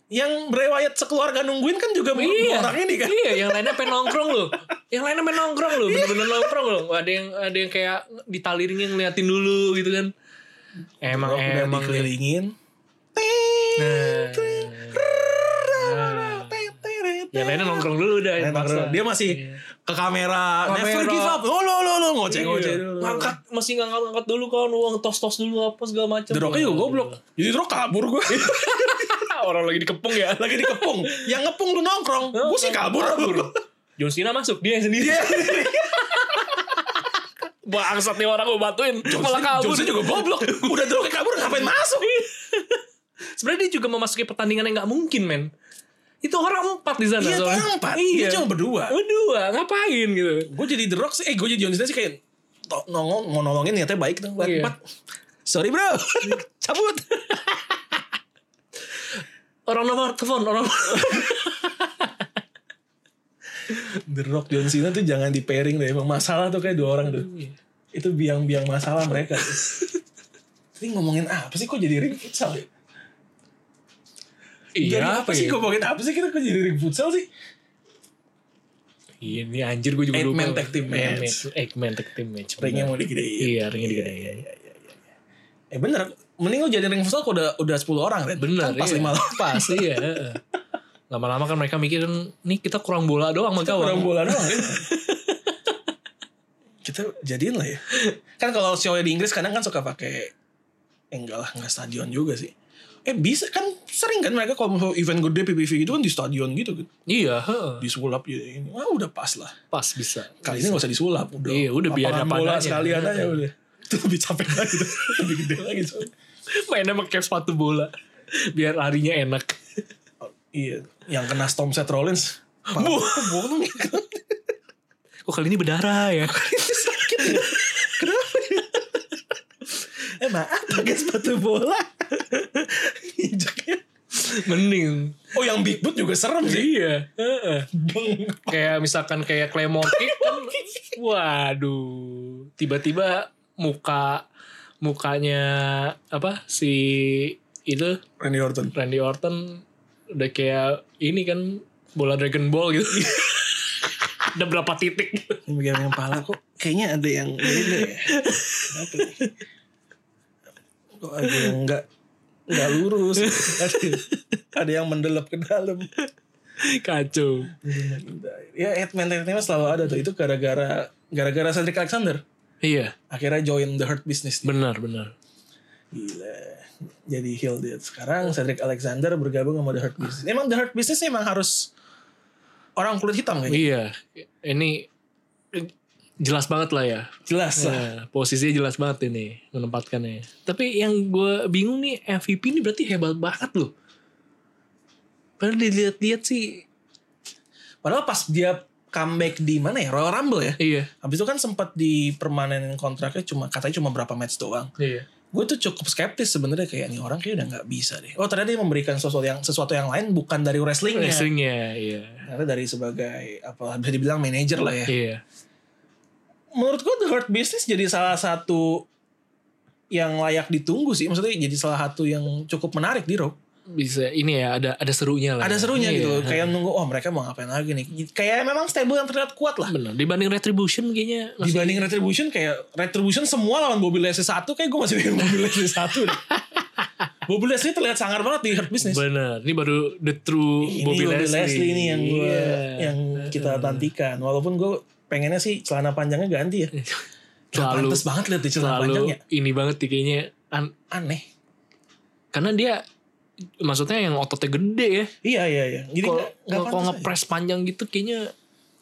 Yang berewayat sekeluarga nungguin kan juga bu- dua orang ini kan. <laughs> Iya, yang lainnya pengen nongkrong loh. Yang lainnya pengen nongkrong loh, bener-bener nongkrong loh. Ada yang ada yang kayak ditaliringnya ngeliatin dulu gitu kan. Emang Rock udah emang. nih. dikelilingin. Nah. Yang lainnya nongkrong dulu udah. Nah, maksa. dia masih ke kamera, Iya. Kamera. never give up. Oh lo lo lo ngoceh ngoceh Iya. dulu. Ngangkat masih ngangkat ngangkat dulu kan uang tos tos dulu apa segala macam. The Rock-nya juga goblok. Iya. Jadi The Rock kabur gue. <laughs> Orang lagi dikepung ya. <laughs> Lagi dikepung. Yang ngepung lu nongkrong. Gue sih kabur. <laughs> John Cena masuk dia yang sendiri. Dia Bangsat nih orang gue bantuin. Malah kabur. Iya, Johnson juga goblok. Udah The Rock-nya kabur ngapain masuk? <laughs> Sebenarnya dia juga memasuki pertandingan yang nggak mungkin men. Itu orang empat di sana. Iya tuh soalnya. empat. Iya. Dia cuma berdua. Berdua ngapain gitu. gue jadi The Rock sih, eh gue jadi John Cena sih kayak to- nongol mau nolongin niatnya baik dong buat Iya. empat. Sorry bro, <laughs> cabut. Orang nomor telepon orang. <laughs> The Rock John Cena tuh jangan di pairing deh, emang masalah tuh kayak dua orang tuh. Itu biang-biang masalah <laughs> mereka. Ini ngomongin apa sih kok jadi ring futsal? ya? Dari iya apa sih ya? ngomongin apa sih kita kok jadi ring futsal sih? Iya, Ini anjir gue juga Eight lupa. man tag team match. Eight man tag team match. Ringnya mau benar. digedein. Iya, ringnya digedein. Eh bener, mending lu jadi ring futsal kok udah udah 10 orang kan? Benar. kan pas iya. lima lawan. Pas <laughs> iya. Lama-lama kan mereka mikir nih kita kurang bola doang sama gawang. Kurang bola doang. ya. <laughs> kita jadiin lah ya. Kan kalau show di Inggris kadang kan suka pakai eh, enggak lah enggak stadion juga sih. Eh bisa kan sering kan mereka kalau mau event gede PPV gitu kan di stadion gitu kan. Iya, heeh. Disulap gitu ini. Wah udah pas lah. pas bisa. Kali ini gak usah disulap udah. Iya, udah biar Lapangan ada bola padanya. sekalian aja udah. Itu lebih capek lagi tuh. Lebih gede lagi soalnya. Mainnya pakai sepatu bola biar larinya enak. Oh, Iya, yang kena Storm Seth Rollins. <laughs> Bu, bolong Kok Oh, kali ini berdarah <laughs> ya? sakit ya? Kenapa ya? Eh maaf pakai sepatu bola. Injaknya. Mending. Oh yang big boot juga serem sih. Iya. heeh. Beng. Kayak misalkan kayak Claymore kick kan. <laughs> Waduh. Tiba-tiba muka mukanya apa si itu Randy Orton. Randy Orton <laughs> udah kayak ini kan bola Dragon Ball gitu. Ada berapa titik? Ini bagian yang pala kok kayaknya ada yang beda ya. Kenapa ya? nih? Kok ada yang enggak enggak lurus. ada, ada yang mendelep ke dalam. Kacau. ya Edman Entertainment selalu ada tuh itu gara-gara gara-gara Cedric Alexander Iya, akhirnya join the Hurt Business dia. benar benar. gila jadi heel dia sekarang Cedric Alexander bergabung sama the Hurt Business emang the Hurt Business emang harus orang kulit hitam kayaknya Iya, ini eh, jelas banget lah ya. jelas lah Nah, posisinya jelas banget ini menempatkannya. Tapi yang gue bingung nih MVP ini berarti hebat banget loh. Padahal dilihat-lihat sih, padahal pas dia comeback di mana ya Royal Rumble ya iya, habis itu kan sempat dipermanenin kontraknya cuma katanya cuma berapa match doang iya. gue tuh cukup skeptis sebenarnya kayak nih orang kayak udah nggak bisa deh oh ternyata dia memberikan sesuatu yang sesuatu yang lain bukan dari wrestlingnya Wrestlingnya, iya, ternyata dari sebagai apa bisa dibilang manajer lah ya iya. menurut gue The Hurt Business jadi salah satu yang layak ditunggu sih maksudnya jadi salah satu yang cukup menarik di Raw Bisa ini ya ada ada serunya lah. ada ya. serunya Iya. gitu loh kayak nunggu oh mereka mau ngapain lagi nih kayak memang stable yang terlihat kuat lah Benar. Dibanding Retribution kayaknya masih- dibanding Retribution kayak Retribution semua lawan Bobby Leslie satu kayak gue masih bingung Bobby Leslie satu deh. Bobby Leslie terlihat sangar banget di Hurt Business Bener. Ini baru the true ini Bobby, Leslie. ini yang gua Iya. yang kita nantikan walaupun gue pengennya sih celana panjangnya ganti Iya, ya Terlalu- Pantes banget lihat di celana Lalu panjangnya ini banget nih kayaknya an- aneh karena dia maksudnya yang ototnya gede ya. iya iya iya jadi Kalau nggak- nggak kalau pantas ya? aja. ngepres panjang gitu kayaknya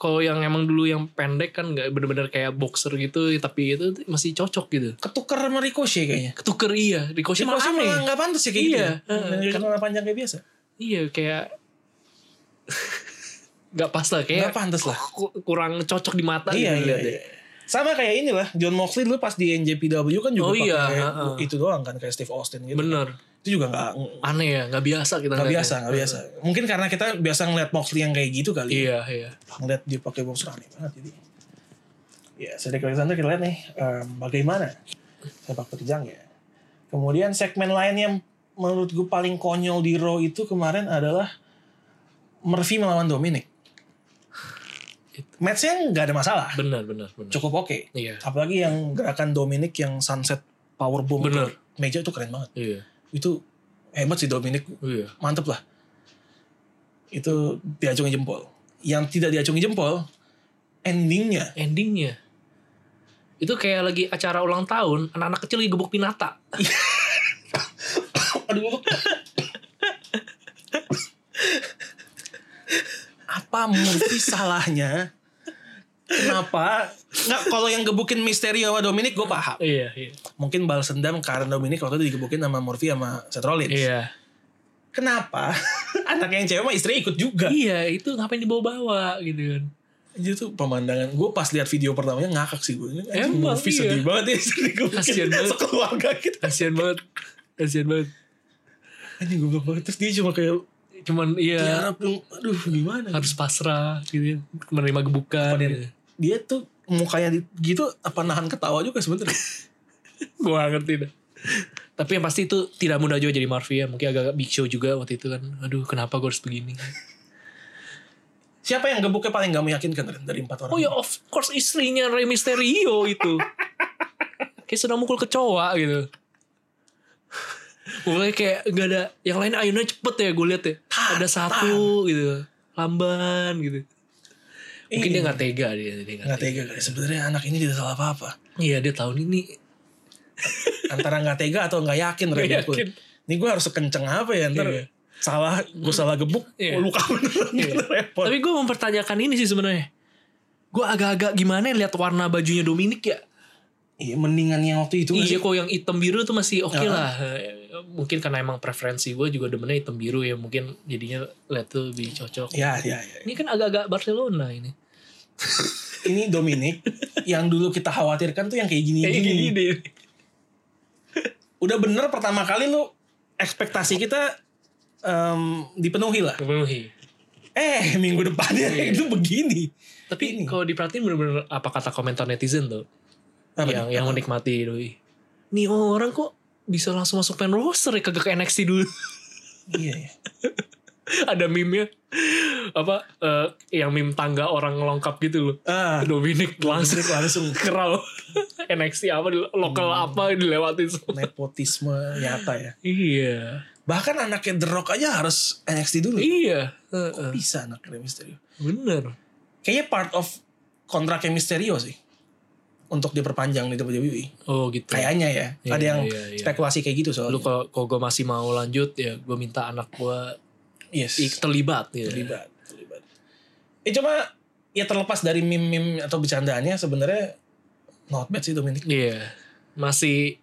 kalau yang emang dulu yang pendek kan nggak bener-bener kayak boxer gitu tapi itu masih cocok gitu. ketukar sama Ricochet kayaknya Ketuker iya, Ricochet Ricochet malah aneh. malah nggak pantas ya kayak Iya. gitu ya. Yang celana panjang kayak biasa Iya kayak <laughs> nggak pas lah kayak nggak pantas lah ku- kurang cocok di mata iya iya, gitu liatnya. iya. sama kayak inilah John Moxley dulu pas di NJPW kan juga Oh, pakai iya, heeh. itu doang kan kayak Steve Austin gitu Bener. itu juga nggak Aneh ya, nggak biasa kita nggak ngeliatnya. biasa nggak biasa mungkin karena kita biasa ngeliat Moxley yang kayak gitu kali ya. Iya, iya. ngeliat dia pakai boxer aneh banget jadi ya Cedric Alexander kita lihat nih em, bagaimana sepak terjangnya kemudian segmen lain yang menurut gue paling konyol di Raw itu kemarin adalah Murphy melawan Dominic Itu. matchnya nggak ada masalah Benar, benar, benar. cukup oke Iya. apalagi yang gerakan Dominic yang sunset powerbomb ke Bener. meja itu keren banget Iya. itu hebat sih Dominic Iya. mantep lah itu diacungi jempol yang tidak diacungi jempol endingnya Endingnya itu kayak lagi acara ulang tahun, anak-anak kecil lagi gebuk pinata. aduh apa Murphy salahnya kenapa nggak kalau yang gebukin Misterio sama Dominic gue paham Iya, iya. mungkin balas dendam karena Dominic waktu itu digebukin sama Murphy sama Seth Rollins Iya. kenapa <laughs> anak yang cewek sama istri ikut juga Iya, itu ngapain dibawa-bawa gitu kan. Jadi tuh pemandangan gue pas lihat video pertamanya ngakak sih gue. Ini anjing Emang, Murphy iya. <laughs> sedih banget ya istri gue. Kasian banget. Sekeluarga kita. Kasian banget. Kasian banget. Anjing gue banget. Terus dia cuma kayak Cuman iya tiarap dong. Aduh gimana. harus pasrah gitu, menerima gebukan. Apa dia- Gitu. Dia tuh mukanya di- gitu apa nahan ketawa juga <laughs> sebenernya. Gua nggak ngerti dah. Tapi yang pasti itu tidak mudah juga jadi Marvin ya. Mungkin agak-agak big show juga waktu itu kan. Aduh, kenapa gue harus begini? Siapa yang gebuknya paling gak meyakinkan Ren, dari empat orang? Oh ya of course istrinya Rey Mysterio itu. kayak sedang mukul kecoa gitu. Mulai kayak gak ada yang lain ayunnya cepet ya gue lihat ya. Ada satu gitu. Lamban gitu. Mungkin dia gak tega dia. dia Iya. nggak Gak tega kali. Sebenarnya anak ini tidak salah apa-apa. Iya dia tahun ini. Antara gak tega atau gak yakin. Ren, Nggak aku. yakin. Ini gue harus sekenceng apa ya ntar. Iya. Salah, gue salah gebuk. Iya. Luka beneran. Ntar repot. Tapi gue mempertanyakan ini sih sebenarnya. Gue agak-agak gimana lihat warna bajunya Dominic ya. Iya mendingan yang waktu itu. nggak Iya sih? kok yang hitam biru tuh masih oke Heeh. lah. Mungkin karena emang preferensi gue juga demennya hitam biru ya. Mungkin jadinya lihat tuh lebih cocok. Iya, iya, iya. Ini kan agak-agak Barcelona ini. ini <laughs> Dominic yang dulu kita khawatirkan tuh yang kayak gini gini. Udah bener pertama kali lu ekspektasi kita em, dipenuhi lah. Kepenuhi. Eh minggu depannya Iya, itu begini. Tapi kalau diperhatiin bener-bener apa kata komentar netizen tuh. Apa yang nih? yang menikmati doi. Nih oh, orang kok bisa langsung masuk pen roster ya kagak ke NXT dulu. Iya, iya. <laughs> Ada meme-nya. apa eh, yang meme tangga orang lengkap gitu loh. Ah, <laughs> Dominic langsung Dominic langsung. kerau <laughs> NXT apa di- lokal Hmm. apa dilewatin semua. nepotisme nyata ya. Iya. Bahkan anaknya The Rock aja harus NXT dulu. Iya. Heeh. Bisa anaknya Misterio. Bener. Kayaknya part of kontraknya Misterio sih. Untuk diperpanjang di WWE. Oh gitu. Kayaknya ya. Iya, Ada yang iya, iya. spekulasi kayak gitu Lu soalnya. kalau kalau gue masih mau lanjut ya gue minta anak gue yes. terlibat ya. terlibat terlibat eh cuma ya terlepas dari meme-meme atau bercandaannya sebenarnya not bad sih Dominic Iya. Masih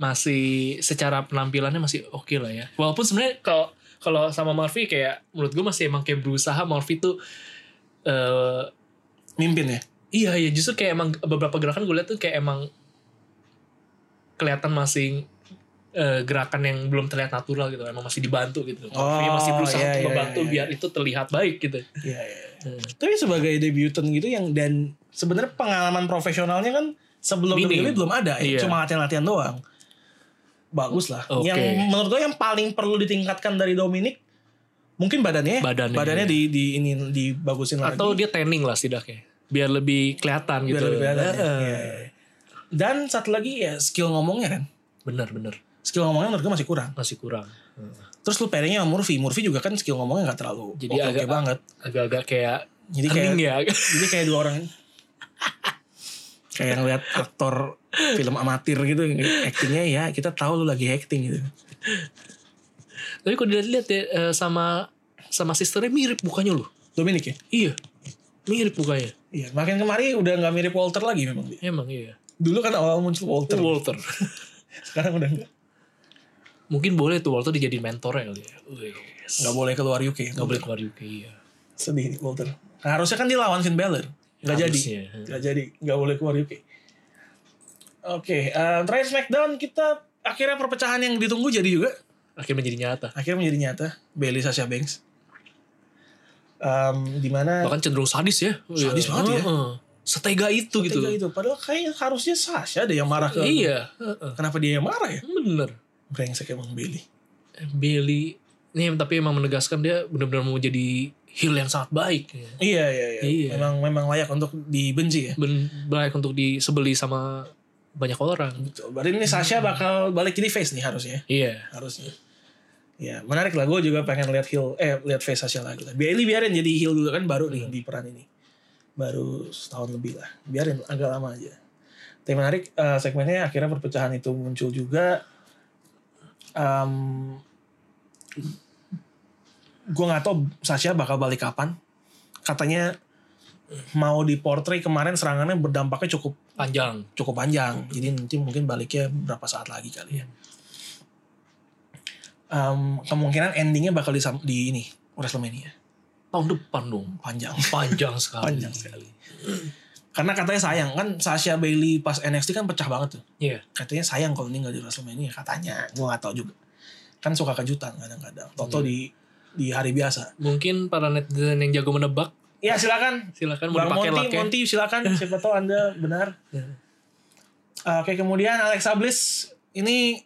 masih secara penampilannya masih oke lah ya. Walaupun sebenarnya kalau kalau sama Murphy kayak menurut gue masih emang kayak berusaha Murphy tuh eh <laughs> mimpin ya iya ya justru kayak emang beberapa gerakan gue lihat tuh kayak emang kelihatan masih eh, gerakan yang belum terlihat natural gitu emang masih dibantu gitu Murphy masih berusaha iya, untuk iya, membantu iya, biar itu terlihat baik gitu Iya, iya. Hmm. tapi sebagai debutan gitu yang dan sebenarnya pengalaman profesionalnya kan sebelum Minim. WWE belum ada ya. Iya. cuma latihan-latihan doang bagus lah Oke. yang menurut gue yang paling perlu ditingkatkan dari Dominic mungkin badannya Badannya, iya. di di ini dibagusin lagi atau dia tanning lah setidaknya biar lebih kelihatan biar gitu lebih kelihatan ya. Eh, Iya, iya, iya. dan satu lagi ya skill ngomongnya kan bener bener skill ngomongnya menurut gue masih kurang masih kurang Terus lu pairingnya sama Murphy. Murphy juga kan skill ngomongnya gak terlalu Jadi oke-oke agak- banget. agak-agak kayak Jadi kayak hening ya <laughs> jadi kayak dua orang ini. kayak ngeliat aktor film amatir gitu actingnya ya kita tahu lu lagi acting gitu tapi kalau dilihat-lihat ya eh, sama sama sisternya mirip mukanya loh Dominic ya iya mirip mukanya iya makin kemari udah nggak mirip Walter lagi memang dia emang iya dulu kan awal muncul Walter Walter <laughs> sekarang udah nggak mungkin boleh tuh Walter dijadiin mentornya kali ya Wih, nggak boleh keluar UK nggak nggak boleh keluar UK iya sedih nih, Walter Nah, harusnya kan dia lawan Finn Balor nggak jadi Harusnya. nggak jadi nggak boleh keluar UK oke eh, terakhir Smackdown kita akhirnya perpecahan yang ditunggu jadi juga akhirnya menjadi nyata akhirnya menjadi nyata Bailey Sasha Banks Em, di mana bahkan cenderung sadis ya Sadis banget ya. Heeh. setega itu gitu ketika itu padahal kayak harusnya Sasha deh yang marah ke iya heeh. kenapa dia yang marah ya bener brengsek emang Bailey Bailey nih tapi emang menegaskan dia benar-benar mau jadi heel yang sangat baik ya. iya iya iya, Iya. memang memang layak untuk dibenci ya Ben- baik untuk disebeli sama banyak orang Betul. berarti ini Sasha bakal balik jadi face nih harusnya ya. iya harusnya ya menarik lah gue juga pengen lihat heel eh lihat face Sasha lagi lah Bailey biarin jadi heel dulu kan baru nih di peran ini baru setahun lebih lah biarin agak lama aja tapi menarik eh, segmennya akhirnya perpecahan itu muncul juga Em gue nggak tahu Sasha bakal balik kapan katanya mau di portray kemarin serangannya berdampaknya cukup panjang cukup panjang. Jadi nanti mungkin baliknya berapa saat lagi kali ya. Em, kemungkinan endingnya bakal di, di ini WrestleMania tahun depan dong panjang, panjang sekali panjang sekali. Karena katanya sayang kan Sasha Bailey pas NXT kan pecah banget tuh. iya Katanya sayang kalau ini nggak di WrestleMania katanya. Gue nggak tahu juga. Kan suka kejutan kadang-kadang. Toto di di hari biasa. mungkin para netizen yang jago menebak Ya silakan. silakan Kan mau Bang dipakai ya. Monty, laknya Monty <laughs> silakan. Siapa tahu anda benar. Oke kemudian Alexa Bliss ini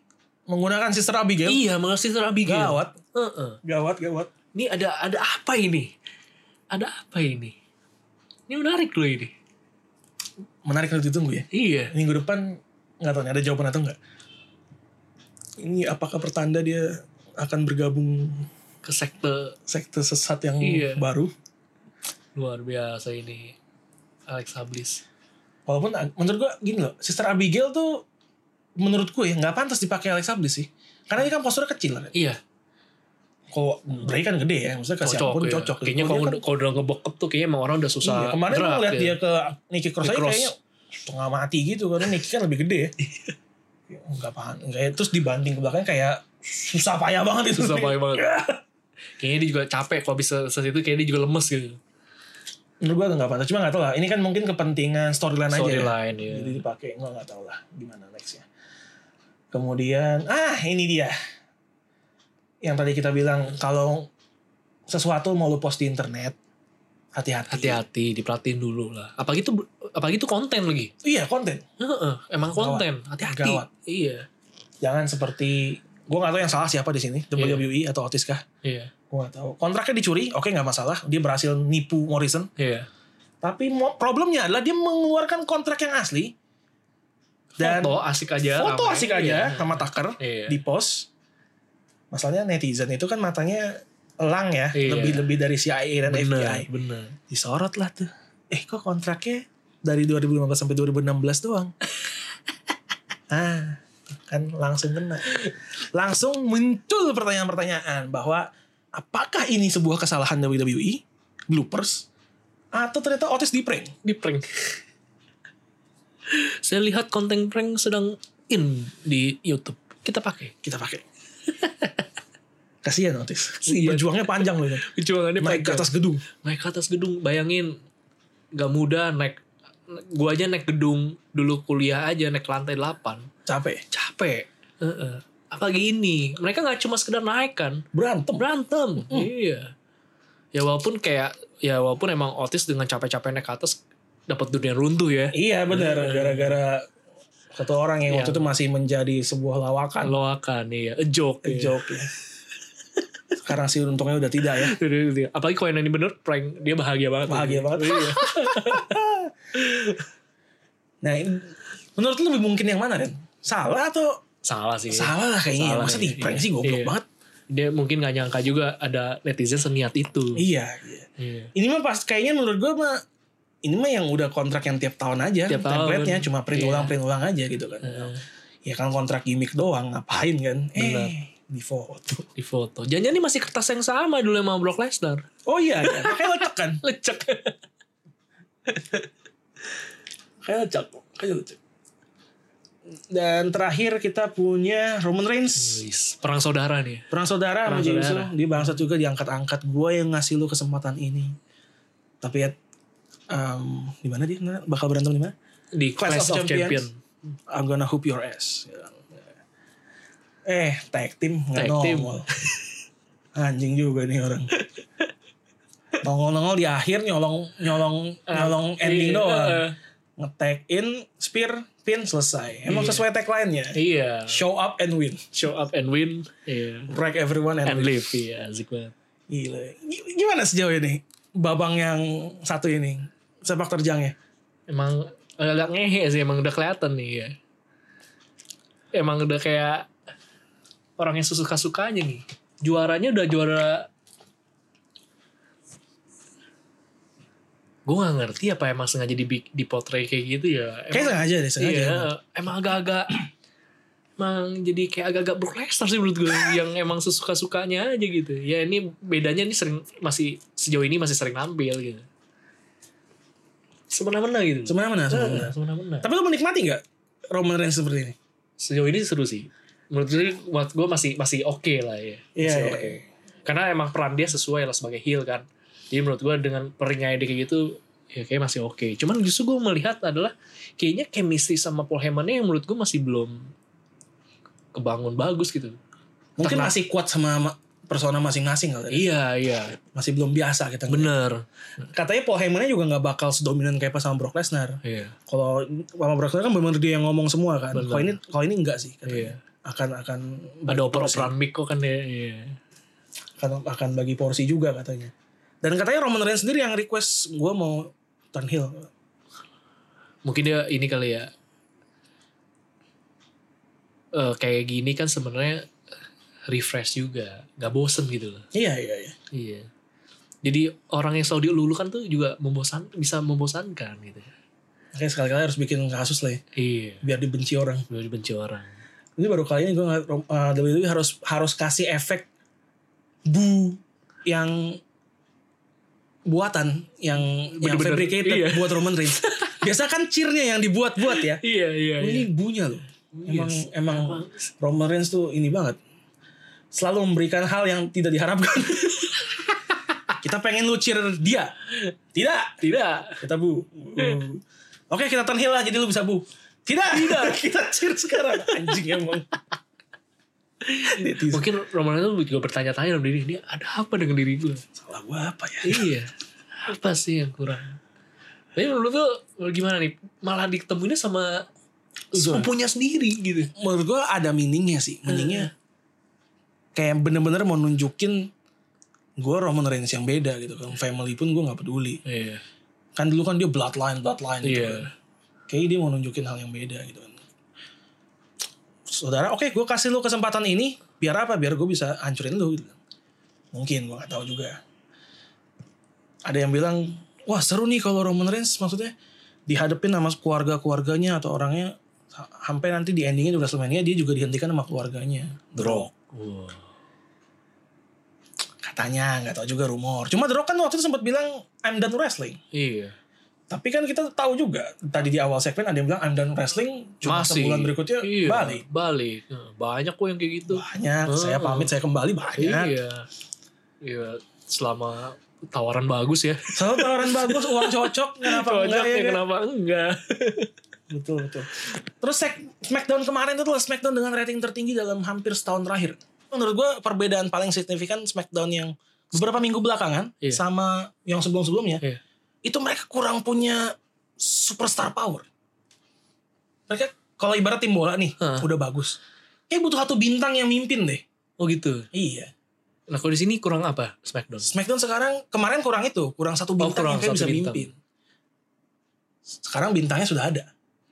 menggunakan Sister Abigail. iya makasih Sister Abigail Gawat, Heeh. gawat, gawat. Ini ada ada apa ini? Ada apa ini? Ini menarik loh ini. Menarik untuk ditunggu ya. Iya. Minggu depan nggak tahu nih ada jawaban atau nggak. Ini apakah pertanda dia akan bergabung Ke sekte sekte sesat yang Iya. baru? luar biasa ini. Alexa Bliss. Walaupun ag- menurut gua gini loh, Sister Abigail tuh menurut gue ya nggak pantas dipakai Alexa Bliss sih. Karena dia kan posturnya kecil kan. Iya. Kalau Bray kan gede ya, maksudnya ke siapapun Cocok. ya. cocok. Kayaknya Kalau kalau dia udah- kalau udah ngebokep tuh kayaknya emang orang udah kan, susah. iya, kemarin gua gerak ngeliat ya. dia ke Nikki Cross aja Cross. kayaknya setengah mati gitu karena Nikki kan lebih gede ya. Enggak paham. Kayak terus dibanting ke belakang kayak susah payah banget itu. susah banget. banget. kayaknya dia juga capek kalau bisa sesuatu itu kayaknya dia juga lemes gitu. Menurut gua nggak pantas. Cuma nggak tahu lah. Ini kan mungkin kepentingan storyline aja. ya. Storyline ya. Jadi dipakai nggak nggak tahu lah gimana nextnya. Kemudian ah ini dia yang tadi kita bilang kalau sesuatu mau lu post di internet hati-hati. Hati-hati, diperhatiin dulu lah. Apalagi itu apalagi itu konten lagi. Iya konten. Heeh, emang konten. Hati-hati. Gawat. Iya. Jangan seperti gua nggak tahu yang salah siapa di sini WWE E atau Otis kah? Iya. Gue gak tahu. Kontraknya dicuri, oke nggak masalah. Dia berhasil nipu Morrison. Iya. Tapi mo- problemnya adalah dia mengeluarkan kontrak yang asli. Dan Iya, foto asik aja. foto ramai. asik aja sama Tucker Iya. di post. Masalahnya netizen itu kan matanya elang ya, Iya. lebih-lebih dari CIA dan FBI. Bener, bener. Disorot lah tuh. Eh kok kontraknya dari 2015 sampai 2016 <laughs> doang. ah, kan langsung kena. Langsung muncul pertanyaan-pertanyaan bahwa apakah ini sebuah kesalahan WWE, bloopers, atau ternyata Otis di prank? Di prank. <laughs> Saya lihat konten prank sedang in di YouTube. Kita pakai. Kita <laughs> pakai. Kasihan Otis. Kasihan. Berjuangnya panjang loh itu. Kecuangannya Naik ke atas gedung. naik ke atas gedung bayangin gak mudah naik gua aja naik gedung dulu kuliah aja naik ke lantai 8 Capek. capek Heeh. apalagi ini mereka nggak cuma sekedar naik kan Berantem. berantem iya ya walaupun kayak ya walaupun emang otis dengan capek-capek naik ke atas dapat dunia runtuh ya Iya benar. Iya. Gara-gara satu orang yang waktu itu masih menjadi sebuah lawakan. loakan iya a joke, A iya. joke ya. Sekarang sih untungnya udah tidak ya. <laughs> apalagi kalau yang ini bener prank dia bahagia banget Bahagia banget. Iya. Nah, ini- menurut lu lebih mungkin yang mana, Ren? Salah atau salah sih salah lah kayaknya. Iya. ya. Salah, Masa iya, di prank iya. sih goblok Iya. banget. dia mungkin gak nyangka juga ada netizen seniat itu Iya, iya. Iya. Ini mah pas kayaknya menurut gua mah ini mah yang udah kontrak yang tiap tahun aja Tiap tahun. template-nya cuma print Iya. ulang print ulang aja gitu kan. Ya kan kontrak gimmick doang ngapain kan? Benar. Eh, di foto. di foto. Jangan ini masih kertas yang sama dulu sama Brock Lesnar. <laughs> Oh iya, iya. Kayak letek kan? Lecek. Kayak lecek, kayak lecek. Dan terakhir kita punya Roman Reigns. Perang saudara nih. ya. Perang saudara Hmm. Perang sama Jey Uso. saudara. Dia bangsat juga diangkat-angkat. Gue yang ngasih lu kesempatan ini. Tapi ya, em, di mana dia? Mana? Bakal berantem di mana? Di Clash, of, Champion. I'm gonna hoop your ass. Eh, tag team nggak Tag team. nongol. <laughs> Anjing juga nih <laughs> orang. Nongol-nongol di akhir nyolong nyolong Ah, nyolong iya. ending Eh, doang. Ngetag in, spear, pin selesai. Emang Iya. sesuai tagline-nya. Iya. Show up and win. Show up and win. Iya. Wreck everyone and, win. And live. Iya, asik banget. Gila. G- Gimana sejauh ini? Babang yang satu ini. Sepak terjangnya. Emang agak ngehe sih. Emang udah kelihatan nih ya. Emang udah kayak orang yang sesuka-sukanya nih. Juaranya udah juara gue gak ngerti apa emang sengaja di dipotret kayak gitu ya Emang- Kayak sengaja deh, sengaja. Iya, emang agak-agak <clears throat> emang jadi kayak agak-agak Brock Lesnar sih menurut gue yang emang sesuka-sukanya aja gitu. Ya ini bedanya ini sering masih sejauh ini masih sering nampil gitu. Semena-mena gitu. Semena-mena, semena-mena. Eh, semena-mena. Tapi lu menikmati nggak Roman Reigns seperti ini? Sejauh ini seru sih. Menurut gue, buat gue masih masih oke lah ya. Iya, Masih iya, oke. iya. Karena emang peran dia sesuai lah sebagai heel kan. Jadi menurut gue dengan peringnya dia kayak gitu ya kayak masih oke. Cuman justru gue melihat adalah kayaknya chemistry sama Paul Heyman-nya yang menurut gue masih belum kebangun bagus gitu. Mungkin Entah masih kuat sama ma- persona masing-masing kali. ya. Iya, iya. Masih belum biasa kita. Bener. Katanya Paul Heyman-nya juga nggak bakal sedominan kayak pas sama Brock Lesnar. Iya. Kalau sama Brock Lesnar kan benar dia yang ngomong semua kan. Bener. Kalau ini kalau ini enggak sih Iya. katanya. Akan akan Ada bagi porsi. oper-operan mic kok kan ya. Iya. Akan akan bagi porsi juga katanya. Dan katanya Roman Reigns sendiri yang request gue mau turn heel. Mungkin dia ini kali ya. Eh kayak gini kan sebenarnya refresh juga. Gak bosen gitu loh. Iya iya iya. Iya. Jadi orang yang selalu dilulukan tuh juga membosan, bisa membosankan gitu. Makanya sekali-kali harus bikin kasus lah ya, Iya. biar dibenci orang. Udah dibenci orang. Ini baru kali ini gue ngeliat uh, WWE harus harus kasih efek bu yang buatan yang yang Bener-bener, fabricated iya. buat Roman <laughs> Reigns. Biasa kan cheer-nya yang dibuat-buat ya. Iya, iya, Ini bunya loh. Emang Yes. emang Roman Reigns tuh ini banget. Selalu memberikan hal yang tidak diharapkan. <laughs> Kita pengen lu cheer dia. Tidak. Tidak. Kita bu. Hmm. Bu. Oke kita turn heel lah jadi lu bisa bu. Tidak. Tidak. <laughs> kita cheer sekarang. Anjing <laughs> emang. Netizen. Mungkin Roman itu juga bertanya-tanya dalam diri, ini ada apa dengan diri gue? Salah gua apa ya? iya. Apa sih yang kurang? Tapi menurut tuh gimana nih? Malah diketemuinnya sama sepupunya sendiri gitu. Menurut gua ada meaningnya sih. Meaningnya. Kayak bener-bener mau nunjukin. gue Roman Reigns yang beda gitu kan family pun gue nggak peduli Iya. kan dulu kan dia bloodline bloodline gitu Iya. kan. kayaknya dia mau nunjukin hal yang beda gitu kan saudara oke gue kasih lu kesempatan ini biar apa biar gue bisa hancurin lu gitu. mungkin gue nggak tahu juga ada yang bilang wah seru nih kalau Roman Reigns maksudnya dihadapin sama keluarga keluarganya atau orangnya ha- sampai nanti di endingnya di WrestleMania dia juga dihentikan sama keluarganya The Rock Wah. katanya nggak tahu juga rumor cuma The Rock kan waktu itu sempat bilang I'm done wrestling Iya. Tapi kan kita tahu juga tadi di awal segmen ada yang bilang I'm done wrestling cuma Masih. sebulan berikutnya Iya, balik. Balik. Nah, Banyak kok yang kayak gitu. Banyak, saya Oh. pamit, saya kembali banyak. Iya. Iya, selama tawaran bagus ya. Selalu tawaran bagus, uang cocok, kenapa enggak ya? Cocok ya, kan? kenapa enggag? Betul, betul. Terus seg- Smackdown kemarin itu adalah Smackdown dengan rating tertinggi dalam hampir setahun terakhir. Menurut gue perbedaan paling signifikan Smackdown yang beberapa minggu belakangan Iya. sama yang sebelum-sebelumnya Iya. itu mereka kurang punya superstar power. Mereka kalau ibarat tim bola nih Hah. udah bagus, kayak butuh satu bintang yang mimpin deh. Oh gitu. Iya. Nah kalau di sini kurang apa Smackdown? Smackdown sekarang kemarin kurang itu, kurang satu bintang Oh, kurang yang kayak satu bisa bintang. mimpin. Sekarang bintangnya sudah ada.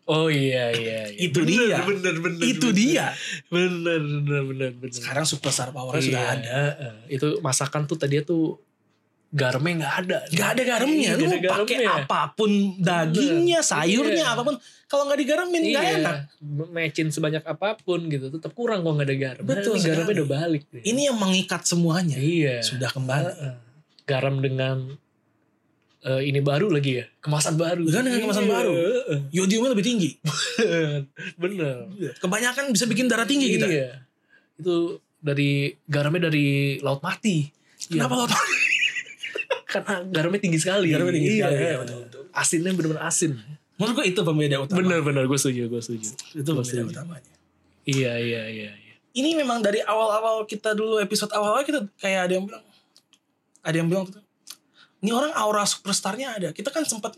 Oh iya iya. iya. Itu dia. Bener, Bener bener. itu bener. dia. Bener bener bener bener. Sekarang superstar powernya Iya, sudah ada. eh, Itu masakan tuh tadinya tuh garamnya nggak ada. Gak ada garamnya, Iya, lu mau nggak ada pakai garamnya. apapun dagingnya, sayurnya, Iya. apapun. Kalau nggak digaramin nggak Iya, enak. Matchin sebanyak apapun gitu, tetap kurang kok nggak ada garam. Betul Nah, ini garamnya sekali. udah balik. nih. Ini yang mengikat semuanya. iya. Sudah kembali. Heeh. garam dengan eh, ini baru lagi ya, kemasan baru. Iya. Garam dengan kemasan baru. Heeh. Yodiumnya lebih tinggi. Bener. Kebanyakan bisa bikin darah tinggi kita. Iya. Itu dari garamnya dari laut mati. Iya, Kenapa lo tau? Karena garamnya tinggi sekali. Garamnya tinggi Iya. sekali, iya, betul, betul. Asinnya bener-bener asin. <laughs> Menurut gue itu pembeda utama. Bener-bener gue setuju, gue setuju. Itu Gua pembeda setuju. utamanya. Iya, iya, iya. iya. ini memang dari awal-awal kita dulu episode awal-awal kita kayak ada yang bilang ada yang bilang ini orang aura superstarnya ada kita kan sempat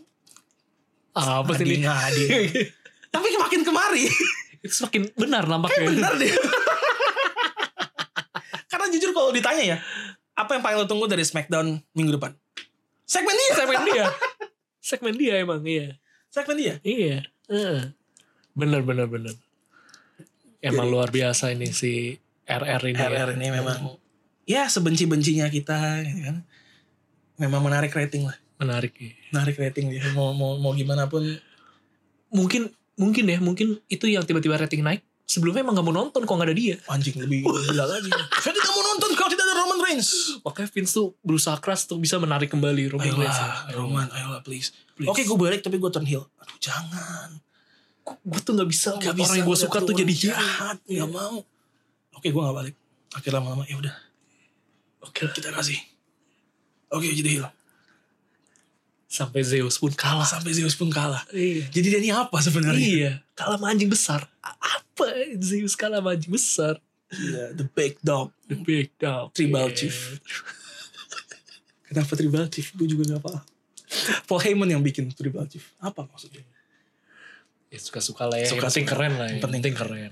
Apa sih ini? ngadi tapi makin kemari <laughs> Itu semakin benar nampaknya. benar deh <laughs> karena jujur kalau ditanya ya apa yang paling lo tunggu dari Smackdown minggu depan segmen dia segmen dia segmen dia emang iya <laughs> segmen dia iya Heeh. bener bener bener emang luar biasa ini si RR ini ya. RR ini memang ya sebenci-bencinya kita ya kan memang menarik rating lah menarik ya. menarik rating dia mau mau mau gimana pun mungkin mungkin ya mungkin itu yang tiba-tiba rating naik sebelumnya emang gak mau nonton kok gak ada dia anjing lebih gila <laughs> lagi. Saya tidak mau nonton kalau tidak ada Roman Reigns. makanya Vince tuh berusaha keras untuk bisa menarik kembali Roman Reigns Ayolah, Roman, ayolah please. Please. Oke, gue balik tapi gue turn heel. Aduh, jangan. gue tuh gak bisa Gak lihat orang yang gue suka tuh jadi heel jahat. Iya. Gak mau. Oke, gue gak balik. Akhirnya lama-lama ya udah. Oke, kita kasih. Oke, jadi heel. sampai Zeus pun kalah Sampai Zeus pun kalah. iya Jadi dia ini apa sebenarnya? iya kalah sama anjing besar A- apa Zeus kalah sama anjing besar Iya, the big dog. the big dog Tribal Iya. chief. <laughs> Kenapa Tribal Chief? Gue juga gak paham. Paul Heyman yang bikin Tribal Chief. Apa maksudnya? ya suka-suka lah ya. Suka-suka. Yang penting keren lah ya. Yang penting keren.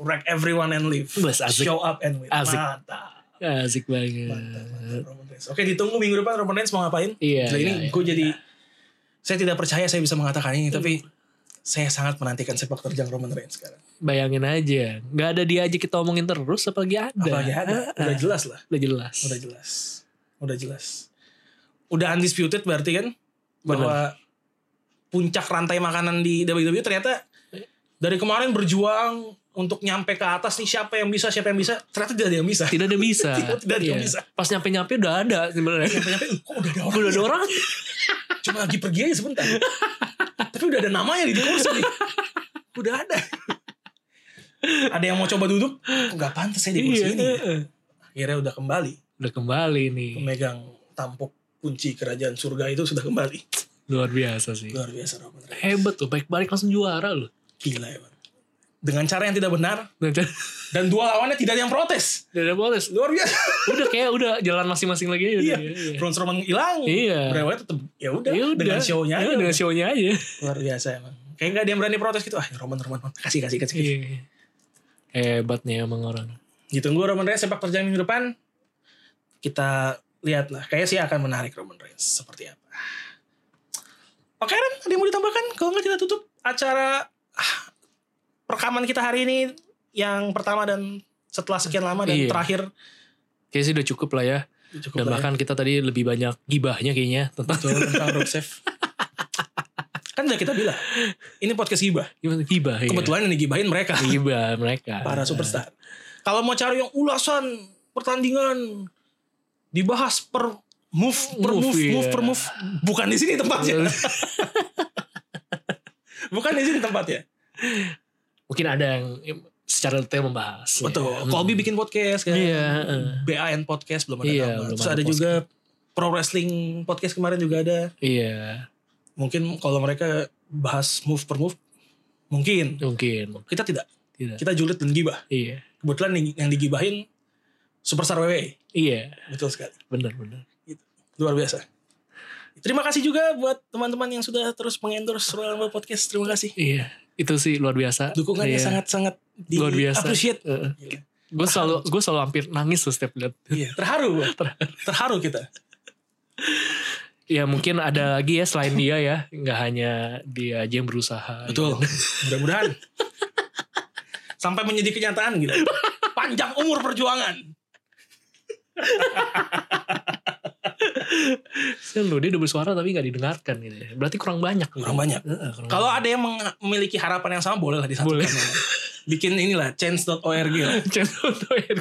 Wreck everyone and leave. Bas, asik. Show up and win. Asik. Mantap. Ya, asik banget. Mantap, mantap, Roman Reigns. Oke ditunggu minggu depan Roman Reigns mau ngapain? Iya, Gila, iya, ini iya. gue jadi saya tidak percaya saya bisa mengatakan ini tapi saya sangat menantikan sepak terjang Roman Reigns sekarang. Bayangin aja. Gak ada dia aja kita omongin terus apalagi ada. Apalagi ada, Ah, ya? udah ah. jelas lah, Udah jelas. udah jelas, udah jelas, udah undisputed berarti kan bahwa puncak rantai makanan di WWE ternyata dari kemarin berjuang untuk nyampe ke atas nih siapa yang bisa siapa yang bisa ternyata tidak ada yang bisa. Tidak ada yang bisa. <laughs> Tidak ada yang Iya. bisa. Pas nyampe-nyampe udah ada sebenarnya. Nyampe-nyampe, kok udah ada orang? udah ada orang. cuma lagi pergi aja sebentar tapi udah ada namanya di kursi nih udah ada ada yang mau coba duduk "Kok nggak pantas saya di kursi Iya, ini ya? iya. akhirnya udah kembali Udah kembali nih. pemegang tampuk kunci kerajaan surga itu sudah kembali Luar biasa sih. luar biasa Roman Reigns. Hebat tuh. Baik-baik langsung juara loh. gila ya Bang. dengan cara yang tidak benar Udah dan dua lawannya tidak ada yang protes udah ada bonus. luar biasa Udah kayak udah jalan masing-masing lagi aja. iya Udah, iya. Braun Strowman hilang Iya. Bray Wyatt tetap ya udah Ya udah. dengan show-nya Iya, aja dengan show-nya <laughs> aja. luar biasa emang kayak nggak ada yang berani protes gitu ah Roman Roman Roman. kasih kasih kasih Iya. Hebat nih emang orang. ditunggu Roman Reigns sepak terjang minggu depan kita lihatlah kayaknya sih akan menarik Roman Reigns seperti apa oke Ren ada yang mau ditambahkan kalau nggak kita tutup acara ah, rekaman kita hari ini yang pertama dan setelah sekian lama dan Iya. terakhir Kayaknya sih udah cukup lah ya. cukup Dan lah ya. bahkan kita tadi lebih banyak gibahnya kayaknya tentang Betul, tentang Rusev kan udah kita bilang ini podcast gibah gimana gibah ya. kebetulan yang digibahin mereka Gibah mereka. para superstar kalau mau cari yang ulasan pertandingan dibahas per move per move Move, move, iya. per move bukan di sini tempatnya bukan di sini tempatnya <laughs> Iya, Mungkin ada yang secara detail membahas. betul Ya. Colby bikin podcast kan Iya, heeh. BAN podcast belum ada Iya, nama belum terus ada ada juga pro wrestling podcast kemarin juga ada Iya, mungkin kalau mereka bahas move per move mungkin mungkin. kita tidak Tidak. kita julid dan gibah Iya. kebetulan yang- yang digibahin superstar WWE Iya, betul sekali benar benar. luar biasa terima kasih juga buat teman-teman yang sudah terus mengendorse Royal Rumble Podcast terima kasih Iya, itu sih luar biasa. dukungannya Iya. sangat-sangat di Luar biasa. appreciate Gila. Gue <laughs> selalu gue selalu hampir nangis tuh setiap lihat. Iya, terharu gua. terharu kita Ya mungkin ada lagi ya selain dia ya, nggak hanya dia aja yang berusaha. betul mudah-mudahan sampai menjadi kenyataan gitu panjang umur perjuangan Gitu. Loh, dia udah bersuara tapi nggak didengarkan gitu. ya. Berarti kurang banyak. gitu. kurang banyak Heeh, kurang kalau ada yang meng- memiliki harapan yang sama boleh lah disatukan Boleh. bikin inilah change.org lah banyak. <laughs> channel tuh ya.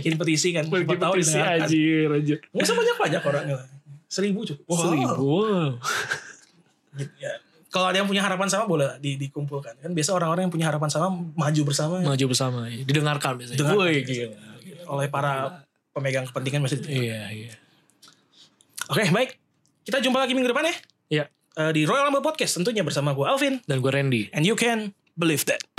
bikin petisi kan Pergi siapa tahu petisi didengarkan anjir, anjir. nggak usah banyak-banyak orangnya lah seribu cukup Wow. Seribu. Wow. Gitu, ya. Kalau ada yang punya harapan sama boleh di, dikumpulkan. Kan biasa orang-orang yang punya harapan sama maju bersama Maju bersama. ya. Didengarkan biasanya. Dengarkan Woi, biasanya. gila. oleh para pemegang kepentingan masih. Oke, Iya, iya. baik. Kita jumpa lagi minggu depan ya Iya. Eh, di Royal Rumble Podcast tentunya bersama gue Alvin Dan gue Randy. and you can believe that.